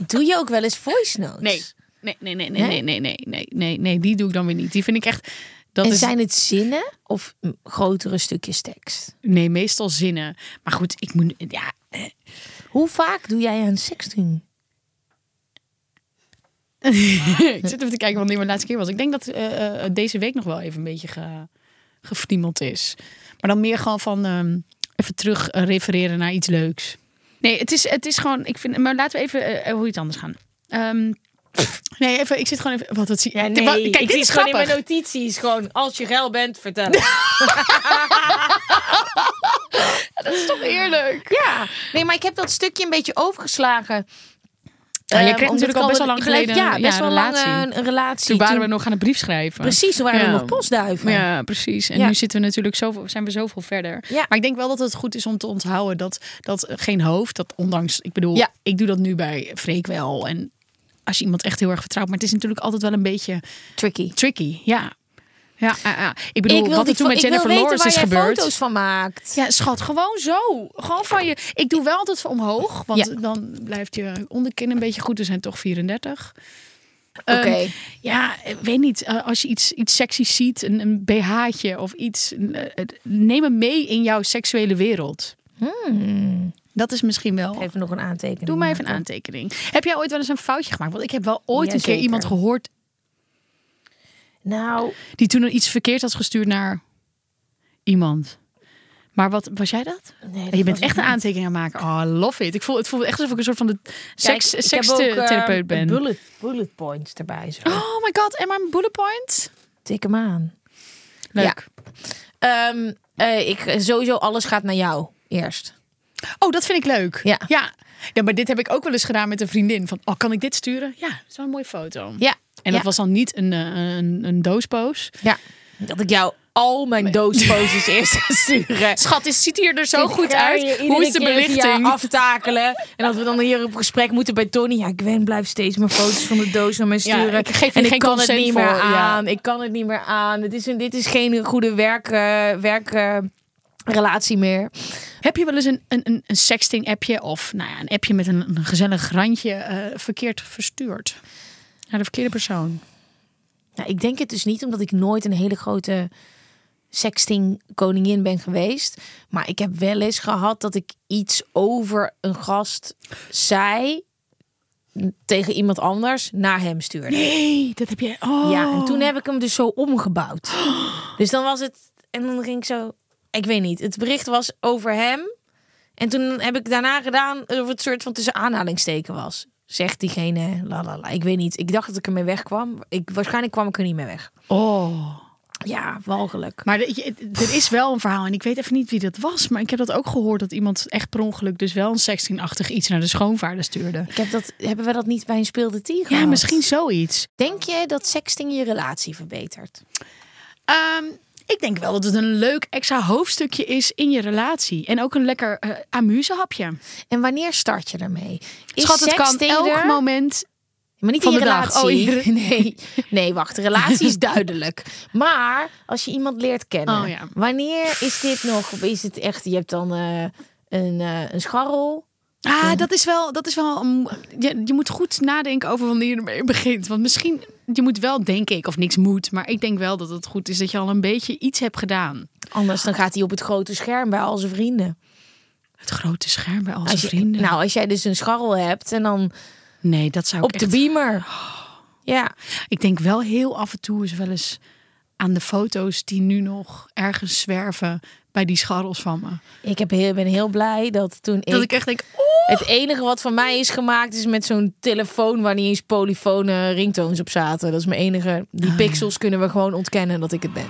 Speaker 2: Doe je ook wel eens voice notes?
Speaker 1: Nee. Nee, nee, nee, nee, nee, nee, nee, nee, nee, nee, die doe ik dan weer niet. Die vind ik echt. Dat
Speaker 2: en
Speaker 1: is,
Speaker 2: zijn het zinnen of mm, grotere stukjes tekst?
Speaker 1: Nee, meestal zinnen. Maar goed, ik moet. Ja, eh,
Speaker 2: Hoe vaak doe jij aan sexting?
Speaker 1: ik zit even te kijken wanneer mijn laatste keer was. Ik denk dat eh, eh, deze week nog wel even een beetje ge, gefriemeld is. Maar dan meer gewoon van ehm, even terug eh, refereren naar iets leuks. Nee, het is, het is gewoon, ik vind, maar laten we even eh, eh, hoe iets anders gaan. Ehm, nee, even, ik zit gewoon even, wat dat zie
Speaker 2: Ja,
Speaker 1: Wa- Kijk,
Speaker 2: ik
Speaker 1: dit
Speaker 2: zie
Speaker 1: is
Speaker 2: het gewoon in
Speaker 1: grappig.
Speaker 2: mijn notities. Gewoon, als je geil bent, vertel. het.
Speaker 1: dat is toch eerlijk?
Speaker 2: ja. Nee, maar ik heb dat stukje een beetje overgeslagen.
Speaker 1: Ja, je
Speaker 2: Ehm,
Speaker 1: kreeg
Speaker 2: omdat
Speaker 1: natuurlijk
Speaker 2: ik
Speaker 1: al best wel lang
Speaker 2: ik leef-
Speaker 1: geleden
Speaker 2: Ja,
Speaker 1: een-
Speaker 2: best
Speaker 1: ja,
Speaker 2: wel
Speaker 1: een
Speaker 2: lang
Speaker 1: relatie.
Speaker 2: eh, een relatie.
Speaker 1: Toen waren we
Speaker 2: Toen-
Speaker 1: nog aan het brief schrijven.
Speaker 2: Precies, toen waren
Speaker 1: Ja.
Speaker 2: we nog postduiven.
Speaker 1: Ja, precies. En
Speaker 2: Ja.
Speaker 1: nu zitten we natuurlijk zoveel, zijn we zoveel verder.
Speaker 2: Ja.
Speaker 1: Maar ik denk wel dat het goed is om te onthouden dat, dat geen hoofd, dat ondanks, ik bedoel,
Speaker 2: Ja.
Speaker 1: ik doe dat nu bij Freek wel. En als je iemand echt heel erg vertrouwt, maar het is natuurlijk altijd wel een beetje
Speaker 2: Tricky.
Speaker 1: tricky. Ja, ja, ja, ja. ik bedoel, wat er
Speaker 2: die
Speaker 1: toen
Speaker 2: fo-
Speaker 1: met
Speaker 2: ik wil
Speaker 1: Jennifer
Speaker 2: weten
Speaker 1: Lawrence
Speaker 2: waar
Speaker 1: is
Speaker 2: jij
Speaker 1: gebeurd.
Speaker 2: foto's van maakt.
Speaker 1: Ja, schat, gewoon zo. Gewoon van je. Ik doe wel altijd van omhoog, want
Speaker 2: Ja.
Speaker 1: dan blijft je onderkin een beetje goed. We zijn toch 34.
Speaker 2: Oké.
Speaker 1: Ehm, ja, eh, weet niet. eh, Als je iets, iets sexys ziet, een, een BH'tje of iets, een, eh, het- neem hem mee in jouw seksuele wereld.
Speaker 2: Hmm.
Speaker 1: Dat is misschien wel.
Speaker 2: Even nog een aantekening.
Speaker 1: Doe maar even een aantekening. Heb jij ooit wel eens een foutje gemaakt? Want ik heb wel ooit een keer
Speaker 2: Jazeker.
Speaker 1: iemand gehoord
Speaker 2: Nou,
Speaker 1: die toen iets verkeerd had gestuurd naar iemand. Maar wat was jij dat?
Speaker 2: nee,
Speaker 1: Ja,
Speaker 2: dat
Speaker 1: je bent
Speaker 2: was
Speaker 1: echt een
Speaker 2: het niet.
Speaker 1: aantekening aan het maken. Oh, love it. Ik voel, het voelt echt alsof ik een soort van de
Speaker 2: Kijk,
Speaker 1: seks,
Speaker 2: ik heb ook, eh,
Speaker 1: sekstherapeut ben.
Speaker 2: Bullet, bullet points erbij. Zo.
Speaker 1: Oh my god, en mijn bullet point?
Speaker 2: Tik hem aan.
Speaker 1: Leuk.
Speaker 2: Ehm, eh, ik, sowieso, alles gaat naar jou eerst.
Speaker 1: Oh, dat vind ik leuk.
Speaker 2: Ja.
Speaker 1: ja. Ja, maar dit heb ik ook wel eens gedaan met een vriendin. Van, oh, kan ik dit sturen? Ja, zo'n mooie foto.
Speaker 2: Ja.
Speaker 1: En dat
Speaker 2: Ja.
Speaker 1: was dan niet een, eh, een, een doospoos.
Speaker 2: Ja. Dat ik jou al mijn doospoosjes eerst ga sturen.
Speaker 1: Schat, is, ziet hier er zo
Speaker 2: Dit
Speaker 1: goed
Speaker 2: ga je
Speaker 1: uit.
Speaker 2: iedere
Speaker 1: Hoe is de
Speaker 2: keer via
Speaker 1: belichting?
Speaker 2: aftakelen. En dat we dan hier op gesprek moeten bij Tony. Ja, Gwen blijft steeds mijn foto's van de doos naar mij
Speaker 1: Ja,
Speaker 2: sturen.
Speaker 1: ik geef
Speaker 2: en
Speaker 1: hier
Speaker 2: ik
Speaker 1: geen
Speaker 2: kan het
Speaker 1: consent
Speaker 2: niet meer
Speaker 1: voor, ja.
Speaker 2: aan. Ik kan het niet meer aan. Het is een, dit is geen goede werkrelatie werk, eh, relatie meer.
Speaker 1: Heb je wel eens een, een, een, een sexting appje of nou ja, een appje met een, een gezellig randje eh, verkeerd verstuurd? Naar de verkeerde persoon.
Speaker 2: Nou, ik denk het dus niet, omdat ik nooit een hele grote sexting koningin ben geweest. Maar ik heb wel eens gehad dat ik iets over een gast zei tegen iemand anders naar hem stuurde.
Speaker 1: Nee, dat heb je. Oh.
Speaker 2: Ja, en toen heb ik hem dus zo omgebouwd. Dus dan was het. En dan ging ik zo. Ik weet niet. Het bericht was over hem. En toen heb ik daarna gedaan of het soort van tussen aanhalingsteken was. Zegt diegene, la la la. Ik weet niet. Ik dacht dat ik ermee wegkwam. Ik, waarschijnlijk kwam ik er niet mee weg.
Speaker 1: Oh.
Speaker 2: Ja, walgelijk.
Speaker 1: Maar de- je- er is wel een verhaal en ik weet even niet wie dat was, maar ik heb dat ook gehoord dat iemand echt per ongeluk dus wel een sextingachtig iets naar de schoonvaarder stuurde.
Speaker 2: Ik heb dat, hebben we dat niet bij een speelde tien
Speaker 1: Ja,
Speaker 2: gehad?
Speaker 1: misschien zoiets.
Speaker 2: Denk je dat sexting je relatie verbetert?
Speaker 1: Ehm, ik denk wel dat het een leuk extra hoofdstukje is in je relatie en ook een lekker eh amusehapje.
Speaker 2: En wanneer start je daarmee? Is
Speaker 1: Schat, het kan
Speaker 2: sexting
Speaker 1: elk
Speaker 2: er?
Speaker 1: moment.
Speaker 2: Maar niet
Speaker 1: Van
Speaker 2: in je
Speaker 1: de dag.
Speaker 2: relatie.
Speaker 1: Oh, iedere-
Speaker 2: nee. nee, wacht. De relatie is duidelijk. Maar als je iemand leert kennen.
Speaker 1: Oh, ja.
Speaker 2: Wanneer is dit nog... Is het echt... Je hebt dan eh, een, eh, een scharrel.
Speaker 1: Ah, dat is wel, dat is wel. een- Je, je moet goed nadenken over wanneer je ermee begint, want misschien je moet wel denk ik of niks moet, maar ik denk wel dat het goed is dat je al een beetje iets hebt gedaan.
Speaker 2: Anders dan gaat hij op het grote scherm bij al zijn vrienden.
Speaker 1: Het grote scherm bij al zijn
Speaker 2: je,
Speaker 1: vrienden.
Speaker 2: Nou, als jij dus een scharrel hebt en dan
Speaker 1: nee, dat zou ik
Speaker 2: op de
Speaker 1: echt-
Speaker 2: beamer. Ja.
Speaker 1: Ik denk wel heel af en toe is wel eens aan de foto's die nu nog ergens zwerven bij die scharrels van me.
Speaker 2: Ik heb heel, ben heel blij dat toen
Speaker 1: Dat ik echt denk, oeh.
Speaker 2: Het enige wat van mij is gemaakt is met zo'n telefoon waar niet eens polyfone ringtoons op zaten. Dat is mijn enige. Die
Speaker 1: Ah.
Speaker 2: pixels kunnen we gewoon ontkennen dat ik het ben.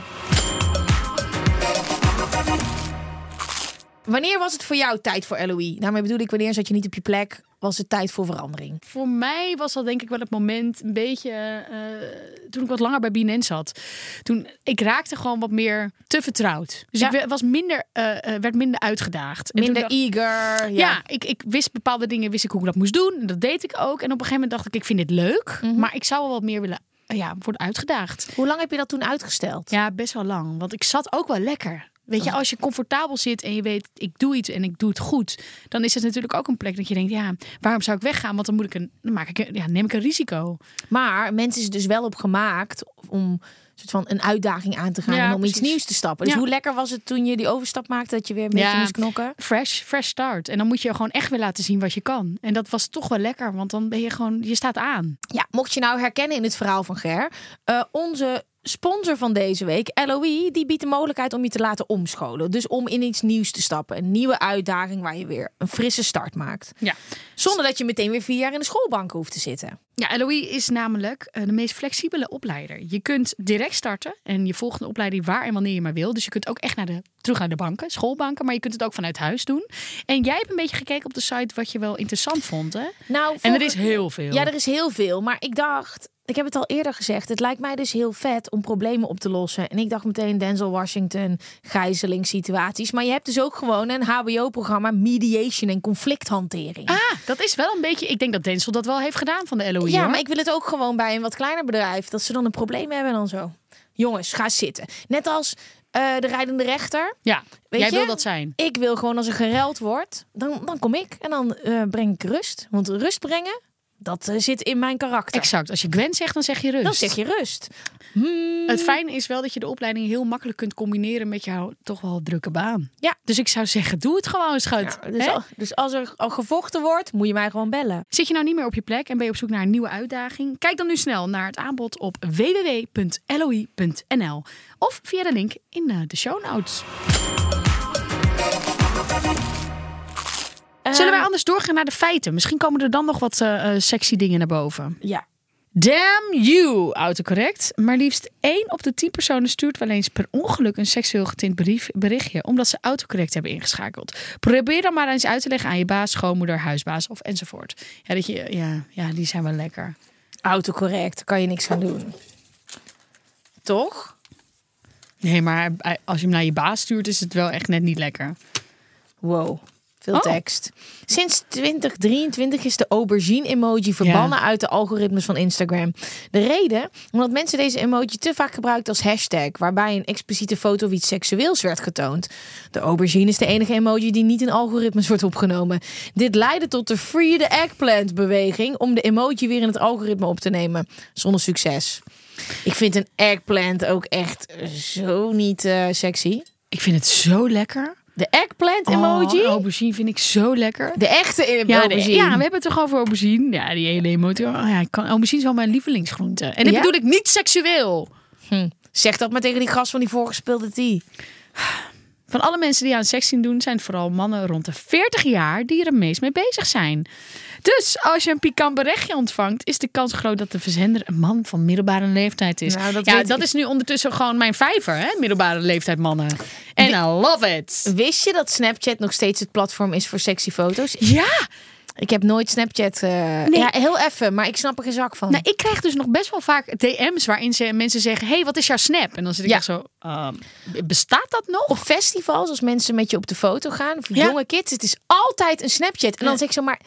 Speaker 2: Wanneer was het voor jou tijd voor LOE? Daarmee bedoel ik, wanneer zat je niet op je plek? Was het tijd voor verandering?
Speaker 1: Voor mij was dat denk ik wel het moment een beetje eh, toen ik wat langer bij BNN zat. Toen ik raakte gewoon wat meer te vertrouwd. Dus
Speaker 2: Ja.
Speaker 1: ik we- was minder, eh, eh, werd minder uitgedaagd. En toen
Speaker 2: Minder
Speaker 1: dacht-
Speaker 2: eager. Ja.
Speaker 1: Ja, ik, ik wist bepaalde dingen, wist ik hoe ik dat moest doen. En Dat deed ik ook. En op een gegeven moment dacht ik, ik vind dit leuk.
Speaker 2: Mhm.
Speaker 1: Maar ik zou wel wat meer willen eh, ja, worden uitgedaagd.
Speaker 2: Hoe lang heb je dat toen uitgesteld?
Speaker 1: Ja, best wel lang. Want ik zat ook wel lekker. Weet je, als je comfortabel zit en je weet, ik doe iets en ik doe het goed, dan is het natuurlijk ook een plek dat je denkt, ja, waarom zou ik weggaan? Want dan moet ik een, dan maak ik een, ja, neem ik een risico.
Speaker 2: Maar mensen is er dus wel op gemaakt om soort van een uitdaging aan te gaan
Speaker 1: Ja,
Speaker 2: en om iets
Speaker 1: precies.
Speaker 2: nieuws te stappen. Dus
Speaker 1: Ja.
Speaker 2: hoe lekker was het toen je die overstap maakte dat je weer een beetje
Speaker 1: Ja.
Speaker 2: moest knokken?
Speaker 1: Fresh, fresh start. En dan moet je gewoon echt weer laten zien wat je kan. En dat was toch wel lekker, want dan ben je gewoon, je staat aan.
Speaker 2: Ja, mocht je nou herkennen in het verhaal van Ger, eh, onze sponsor van deze week, LOE, die biedt de mogelijkheid om je te laten omscholen. Dus om in iets nieuws te stappen. Een nieuwe uitdaging waar je weer een frisse start maakt.
Speaker 1: Ja.
Speaker 2: Zonder dat je meteen weer vier jaar in de schoolbanken hoeft te zitten.
Speaker 1: Ja, LOE is namelijk eh, de meest flexibele opleider. Je kunt direct starten en je volgt een opleiding waar en wanneer je maar wil. Dus je kunt ook echt naar de, terug naar de banken, schoolbanken, maar je kunt het ook vanuit huis doen. En jij hebt een beetje gekeken op de site wat je wel interessant vond, hè?
Speaker 2: Nou,
Speaker 1: En er
Speaker 2: vorige-
Speaker 1: is heel veel.
Speaker 2: Ja, er is heel veel. Maar ik dacht, ik heb het al eerder gezegd, het lijkt mij dus heel vet om problemen op te lossen. En ik dacht meteen Denzel Washington, gijzelingssituaties. Maar je hebt dus ook gewoon een HBO-programma mediation en conflicthantering.
Speaker 1: Ah, dat is wel een beetje. Ik denk dat Denzel dat wel heeft gedaan van de LOE.
Speaker 2: ja,
Speaker 1: hoor.
Speaker 2: maar ik wil het ook gewoon bij een wat kleiner bedrijf. Dat ze dan een probleem hebben en dan zo. Jongens, ga zitten. Net als eh, de rijdende rechter.
Speaker 1: ja.
Speaker 2: Weet
Speaker 1: jij
Speaker 2: je?
Speaker 1: wil dat zijn.
Speaker 2: Ik wil gewoon als er gereld wordt, dan, dan kom ik. En dan eh, breng ik rust. Want rust brengen, dat eh, zit in mijn karakter.
Speaker 1: Exact. Als je Gwen zegt, dan zeg je rust.
Speaker 2: Dan zeg je rust.
Speaker 1: Het fijne is wel dat je de opleiding heel makkelijk kunt combineren met jouw toch wel drukke baan.
Speaker 2: Ja.
Speaker 1: Dus ik zou zeggen, doe het gewoon, schat.
Speaker 2: Ja, dus,
Speaker 1: Hè?
Speaker 2: al- dus als er al gevochten wordt, moet je mij gewoon bellen.
Speaker 1: Zit je nou niet meer op je plek en ben je op zoek naar een nieuwe uitdaging? Kijk dan nu snel naar het aanbod op www.loi.nl of via de link in eh, de show notes.
Speaker 2: Eh.
Speaker 1: Zullen wij anders doorgaan naar de feiten? Misschien komen er dan nog wat eh, eh, sexy dingen naar boven.
Speaker 2: Ehm, Ja.
Speaker 1: Damn you, autocorrect. Maar liefst 1 op de 10 personen stuurt wel eens per ongeluk een seksueel getint brief, berichtje, omdat ze autocorrect hebben ingeschakeld. Probeer dan maar eens uit te leggen aan je baas, schoonmoeder, huisbaas of enzovoort. Ja, dat je, ja, ja die zijn wel lekker.
Speaker 2: Autocorrect, kan je niks aan doen. Toch?
Speaker 1: Nee, maar als je hem naar je baas stuurt, is het wel echt net niet lekker.
Speaker 2: Wow. Veel
Speaker 1: Oh.
Speaker 2: tekst. Sinds 2023 is de aubergine-emoji verbannen uit de algoritmes van Instagram. De reden? Omdat mensen deze emoji te vaak gebruikten als hashtag, waarbij een expliciete foto of iets seksueels werd getoond. De aubergine is de enige emoji die niet in algoritmes wordt opgenomen. Dit leidde tot de Free the Eggplant-beweging om de emoji weer in het algoritme op te nemen. Zonder succes. Ik vind een eggplant ook echt zo niet eh, sexy.
Speaker 1: Ik vind het zo lekker.
Speaker 2: De eggplant-emoji?
Speaker 1: Oh, aubergine vind ik zo lekker.
Speaker 2: De echte in
Speaker 1: Ja, de-
Speaker 2: aubergine.
Speaker 1: ja, we hebben het toch over aubergine. Ja, die hele emotie. Oh, ja, ik kan, aubergine is wel mijn lievelingsgroente. En dat
Speaker 2: Ja?
Speaker 1: bedoel ik niet seksueel.
Speaker 2: Zeg dat maar tegen die gast van die voorgespeelde tea.
Speaker 1: Van alle mensen die aan seks zien doen, zijn het vooral mannen rond de 40 jaar die er het meest mee bezig zijn. Dus als je een pikant berichtje ontvangt, is de kans groot dat de verzender een man van middelbare leeftijd is.
Speaker 2: Nou, dat
Speaker 1: ja,
Speaker 2: weet
Speaker 1: dat
Speaker 2: ik.
Speaker 1: is nu ondertussen gewoon mijn vijver, hè? middelbare leeftijd mannen. En I love it.
Speaker 2: Wist je dat Snapchat nog steeds het platform is voor sexy foto's?
Speaker 1: Ja,
Speaker 2: Ik heb nooit Snapchat. eh, Ja, heel even, maar ik snap er geen zak van.
Speaker 1: nou, ik krijg dus nog best wel vaak DM's waarin ze, mensen zeggen: hey, wat is jouw snap? En dan zit ik
Speaker 2: Ja.
Speaker 1: echt zo: ehm, bestaat dat nog?
Speaker 2: Op festivals, als mensen met je op de foto gaan, of
Speaker 1: Ja.
Speaker 2: jonge kids, het is altijd een Snapchat. En dan
Speaker 1: Ja.
Speaker 2: zeg ik zo, maar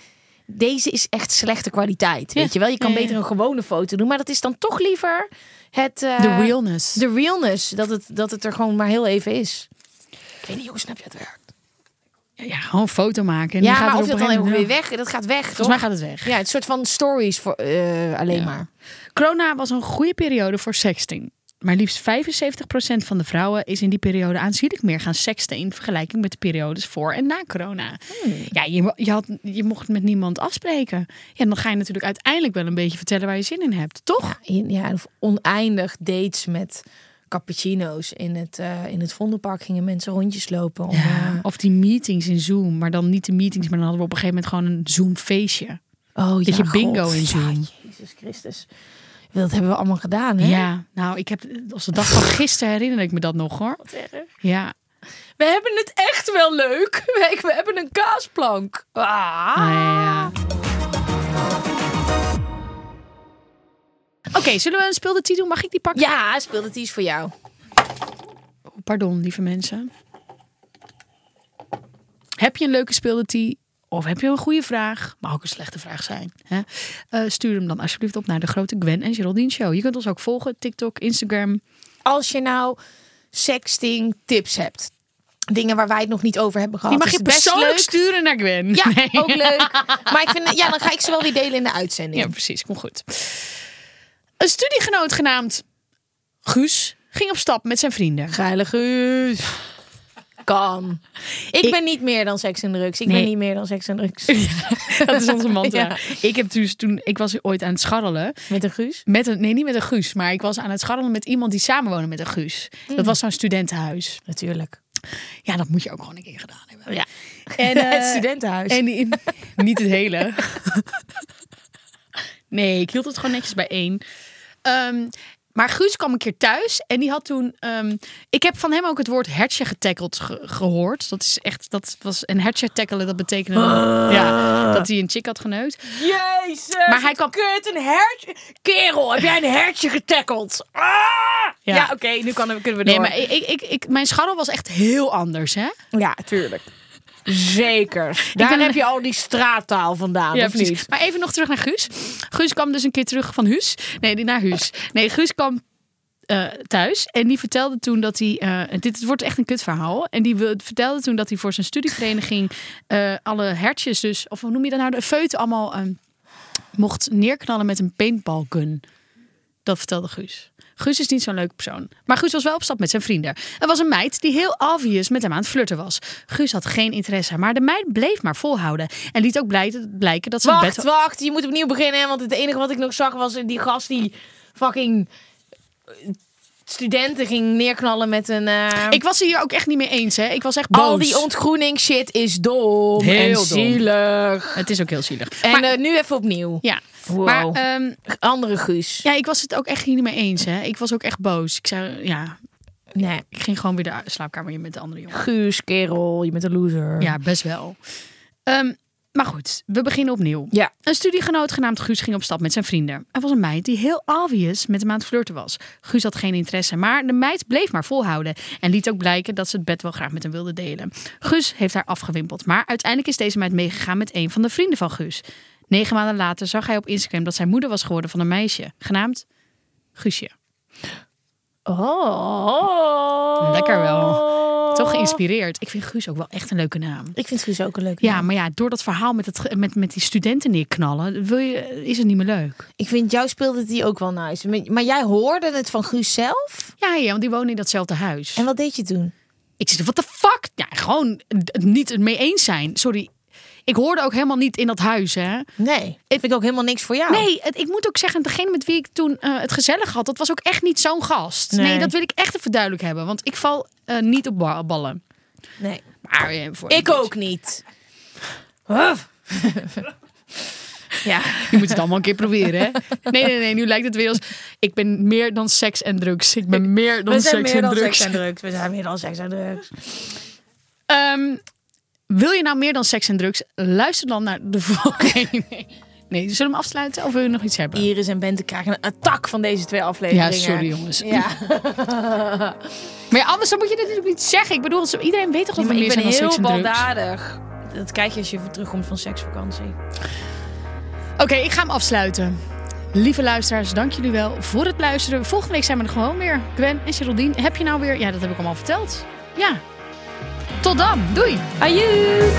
Speaker 2: deze is echt slechte kwaliteit.
Speaker 1: Ja.
Speaker 2: Weet je wel, je kan
Speaker 1: Ja, ja,
Speaker 2: beter
Speaker 1: ja.
Speaker 2: een gewone foto doen, maar dat is dan toch liever het. eh,
Speaker 1: De realness.
Speaker 2: De realness, dat het, dat het er gewoon maar heel even is. Ik weet niet hoe Snapchat werkt.
Speaker 1: Ja, gewoon een foto maken. En die
Speaker 2: Ja,
Speaker 1: gaat
Speaker 2: maar
Speaker 1: er
Speaker 2: of
Speaker 1: op
Speaker 2: dat
Speaker 1: een
Speaker 2: dan ook
Speaker 1: gegeven
Speaker 2: weer
Speaker 1: moment-
Speaker 2: weg, dat gaat weg.
Speaker 1: Volgens mij gaat het weg.
Speaker 2: Ja, het soort van stories voor eh, alleen maar.
Speaker 1: Corona was een goede periode voor sexting. Maar liefst 75% van de vrouwen is in die periode aanzienlijk meer gaan seksten in vergelijking met de periodes voor en na corona.
Speaker 2: Hmm.
Speaker 1: Ja, je, mo- je, had, je mocht met niemand afspreken. Ja, dan ga je natuurlijk uiteindelijk wel een beetje vertellen waar je zin in hebt, toch?
Speaker 2: Ja, of oneindig dates met cappuccino's in het, eh, in het Vondelpark gingen mensen rondjes lopen. Om, eh,
Speaker 1: Of die meetings in Zoom, maar dan niet de meetings, maar dan hadden we op een gegeven moment gewoon een Zoom feestje.
Speaker 2: oh,
Speaker 1: Dat
Speaker 2: ja,
Speaker 1: je bingo
Speaker 2: God.
Speaker 1: in Zoom.
Speaker 2: Ja, Jezus Christus. Dat hebben we allemaal gedaan, hè?
Speaker 1: Ja, nou, ik heb als de dag van gisteren herinner ik me dat nog hoor. Ja,
Speaker 2: We hebben het echt wel leuk. We, we hebben een kaasplank. Ah.
Speaker 1: Ah, ja. Oké, zullen we een speelde titel? doen? Mag ik die pakken?
Speaker 2: Ja, speelde het iets voor jou. Oh,
Speaker 1: Pardon, lieve mensen. Heb je een leuke speelde die? Of heb je een goede vraag? Mag ook een slechte vraag zijn. Hè? Eh, stuur hem dan alsjeblieft op naar de grote Gwen en Geraldine Show. Je kunt ons ook volgen. TikTok,
Speaker 2: Oh,
Speaker 1: Instagram.
Speaker 2: Als je nou sexting tips hebt. Dingen waar wij het nog niet over hebben gehad.
Speaker 1: Die mag
Speaker 2: is
Speaker 1: je
Speaker 2: het best
Speaker 1: persoonlijk
Speaker 2: leuk.
Speaker 1: sturen naar Gwen.
Speaker 2: Ja,
Speaker 1: Nee.
Speaker 2: ook leuk. Maar ik vind, ja, dan ga ik ze wel weer delen in de uitzending.
Speaker 1: Ja, precies. Kom goed. Een studiegenoot genaamd Guus ging op stap met zijn vrienden.
Speaker 2: Geile Guus. Kan. Ik,
Speaker 1: Ik-
Speaker 2: ben niet meer dan seks en drugs. Ik
Speaker 1: Nee.
Speaker 2: ben niet meer dan seks en drugs.
Speaker 1: Dat is onze mantra.
Speaker 2: Ja.
Speaker 1: Ik heb dus toen, ik was ooit aan het scharrelen.
Speaker 2: Met een Guus?
Speaker 1: Met een, nee, niet met een Guus, maar ik was aan het scharrelen met iemand die samenwoonde met een Guus. Dat was zo'n studentenhuis.
Speaker 2: Hmm. Natuurlijk.
Speaker 1: Ja, dat moet je ook gewoon een keer gedaan hebben.
Speaker 2: Ja.
Speaker 1: En,
Speaker 2: het
Speaker 1: eh,
Speaker 2: studentenhuis.
Speaker 1: En die- niet het hele. nee, ik hield het gewoon netjes bij één. Ehm, maar Guus kwam een keer thuis en die had toen. ehm, ik heb van hem ook het woord hertje getackled ge- gehoord. Dat is echt. Dat was een hertje tackelen. Dat betekende dan- ja, dat hij een chick had geneukt.
Speaker 2: Ah. Jezus!
Speaker 1: Maar hij kwam.
Speaker 2: Kut, een hertje. Kerel, heb jij een hertje getackled? Ah! Ja, oké, nu kan, kunnen we
Speaker 1: Nee,
Speaker 2: door.
Speaker 1: maar ik, ik, ik, ik- mijn scharrel was echt heel anders, hè?
Speaker 2: Ja, tuurlijk. Zeker. Daar
Speaker 1: ben-
Speaker 2: heb je al die straattaal vandaan, of
Speaker 1: precies.
Speaker 2: niet?
Speaker 1: Maar even nog terug naar Guus. Guus kwam dus een keer terug van Huus. Nee, die- naar Huus. Nee, Guus kwam eh, thuis en die vertelde toen dat hij. eh, en dit het wordt echt een kutverhaal. En die wil- vertelde toen dat hij voor zijn studievereniging eh, alle hertjes, dus, of hoe noem je dat nou, de feuten allemaal ehm, mocht neerknallen met een paintballgun. Dat vertelde Guus. Guus is niet zo'n leuke persoon. Maar Guus was wel op stap met zijn vrienden. Er was een meid die heel obvious met hem aan het flirten was. Guus had geen interesse, maar de meid bleef maar volhouden. En liet ook blij- blijken dat ze het
Speaker 2: Wacht,
Speaker 1: bed...
Speaker 2: wacht. Je moet opnieuw beginnen, want het enige wat ik nog zag was eh, die gast die fucking eh, studenten ging neerknallen met een... eh,
Speaker 1: Ik was het hier ook echt niet mee eens, hè. Ik was echt boos.
Speaker 2: al die ontgroening shit is dom
Speaker 1: Heel
Speaker 2: en
Speaker 1: dom.
Speaker 2: zielig.
Speaker 1: Het is ook heel zielig.
Speaker 2: En
Speaker 1: maar,
Speaker 2: eh, nu even opnieuw.
Speaker 1: ja.
Speaker 2: Wow.
Speaker 1: Maar ehm,
Speaker 2: Andere Guus.
Speaker 1: ja, ik was het ook echt hier niet mee eens, hè. Ik was ook echt boos. Ik zei, ja,
Speaker 2: Nee.
Speaker 1: ik ging gewoon weer de slaapkamer in met de andere jongen.
Speaker 2: Guus, kerel, je bent een loser.
Speaker 1: Ja, best wel. Ehm, maar goed, we beginnen opnieuw.
Speaker 2: Ja.
Speaker 1: Een studiegenoot genaamd Guus ging op stap met zijn vrienden. Er was een meid die heel obvious met hem aan het flirten was. Guus had geen interesse, maar de meid bleef maar volhouden. En liet ook blijken dat ze het bed wel graag met hem wilde delen. Guus heeft haar afgewimpeld, maar uiteindelijk is deze meid meegegaan met een van de vrienden van Guus. Negen maanden later zag hij op Instagram dat zijn moeder was geworden van een meisje, genaamd Guusje.
Speaker 2: Oh.
Speaker 1: Lekker wel. Toch geïnspireerd. Ik vind Guus ook wel echt een leuke naam.
Speaker 2: Ik vind Guus ook een leuk.
Speaker 1: Ja, maar ja, door dat verhaal met, het, ge- met, met die studenten neerknallen, wil je, is het niet meer leuk.
Speaker 2: Ik vind jou speelde die ook wel nice. Maar- Maar jij hoorde het van Guus zelf?
Speaker 1: Ja, ja, want die wonen in datzelfde huis.
Speaker 2: En wat deed je toen?
Speaker 1: Ik zit, wat de fuck? Ja, gewoon het niet het mee eens zijn. Sorry. Ik hoorde ook helemaal niet in dat huis, hè?
Speaker 2: Nee. Ik vind ik ook helemaal niks voor jou.
Speaker 1: Nee, het- ik moet ook zeggen, degene met wie ik toen eh, het gezellig had, dat was ook echt niet zo'n gast. Nee.
Speaker 2: Nee.
Speaker 1: dat wil ik echt even duidelijk hebben, want ik val eh, niet op ba- ballen.
Speaker 2: nee.
Speaker 1: Maar, eh, voor
Speaker 2: Ik ook niet. Huh. ja.
Speaker 1: Je moet het allemaal een keer proberen, hè? Nee, nee, nee, nu lijkt het weer als... Ik ben meer dan seks en drugs. Ik ben meer dan
Speaker 2: We zijn
Speaker 1: seks
Speaker 2: meer
Speaker 1: en
Speaker 2: dan
Speaker 1: drugs.
Speaker 2: seks en drugs. We zijn meer dan seks en drugs.
Speaker 1: Ehm, wil je nou meer dan seks en drugs? Luister dan naar de volgende. Nee, zullen we hem afsluiten of wil je nog iets hebben?
Speaker 2: Iris en Bente krijgen een attack van deze twee
Speaker 1: Ja,
Speaker 2: afleveringen.
Speaker 1: sorry jongens.
Speaker 2: Ja.
Speaker 1: Maar ja, anders dan moet je dit natuurlijk niet zeggen. Ik bedoel, ze- iedereen weet toch dat we
Speaker 2: maar
Speaker 1: meer
Speaker 2: ik ben
Speaker 1: zijn dan seks
Speaker 2: heel
Speaker 1: en drugs?
Speaker 2: baldadig. Dat krijg je als je terugkomt van seksvakantie.
Speaker 1: Oké, ik ga hem afsluiten. Lieve luisteraars, dank jullie wel voor het luisteren. Volgende week zijn we er gewoon weer. Gwen en Geraldine, heb je nou weer... Ja, dat heb ik allemaal verteld. Ja. Tot dan. Doei.
Speaker 2: Adieu!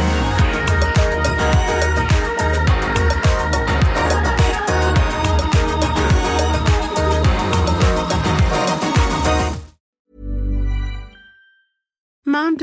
Speaker 6: Mom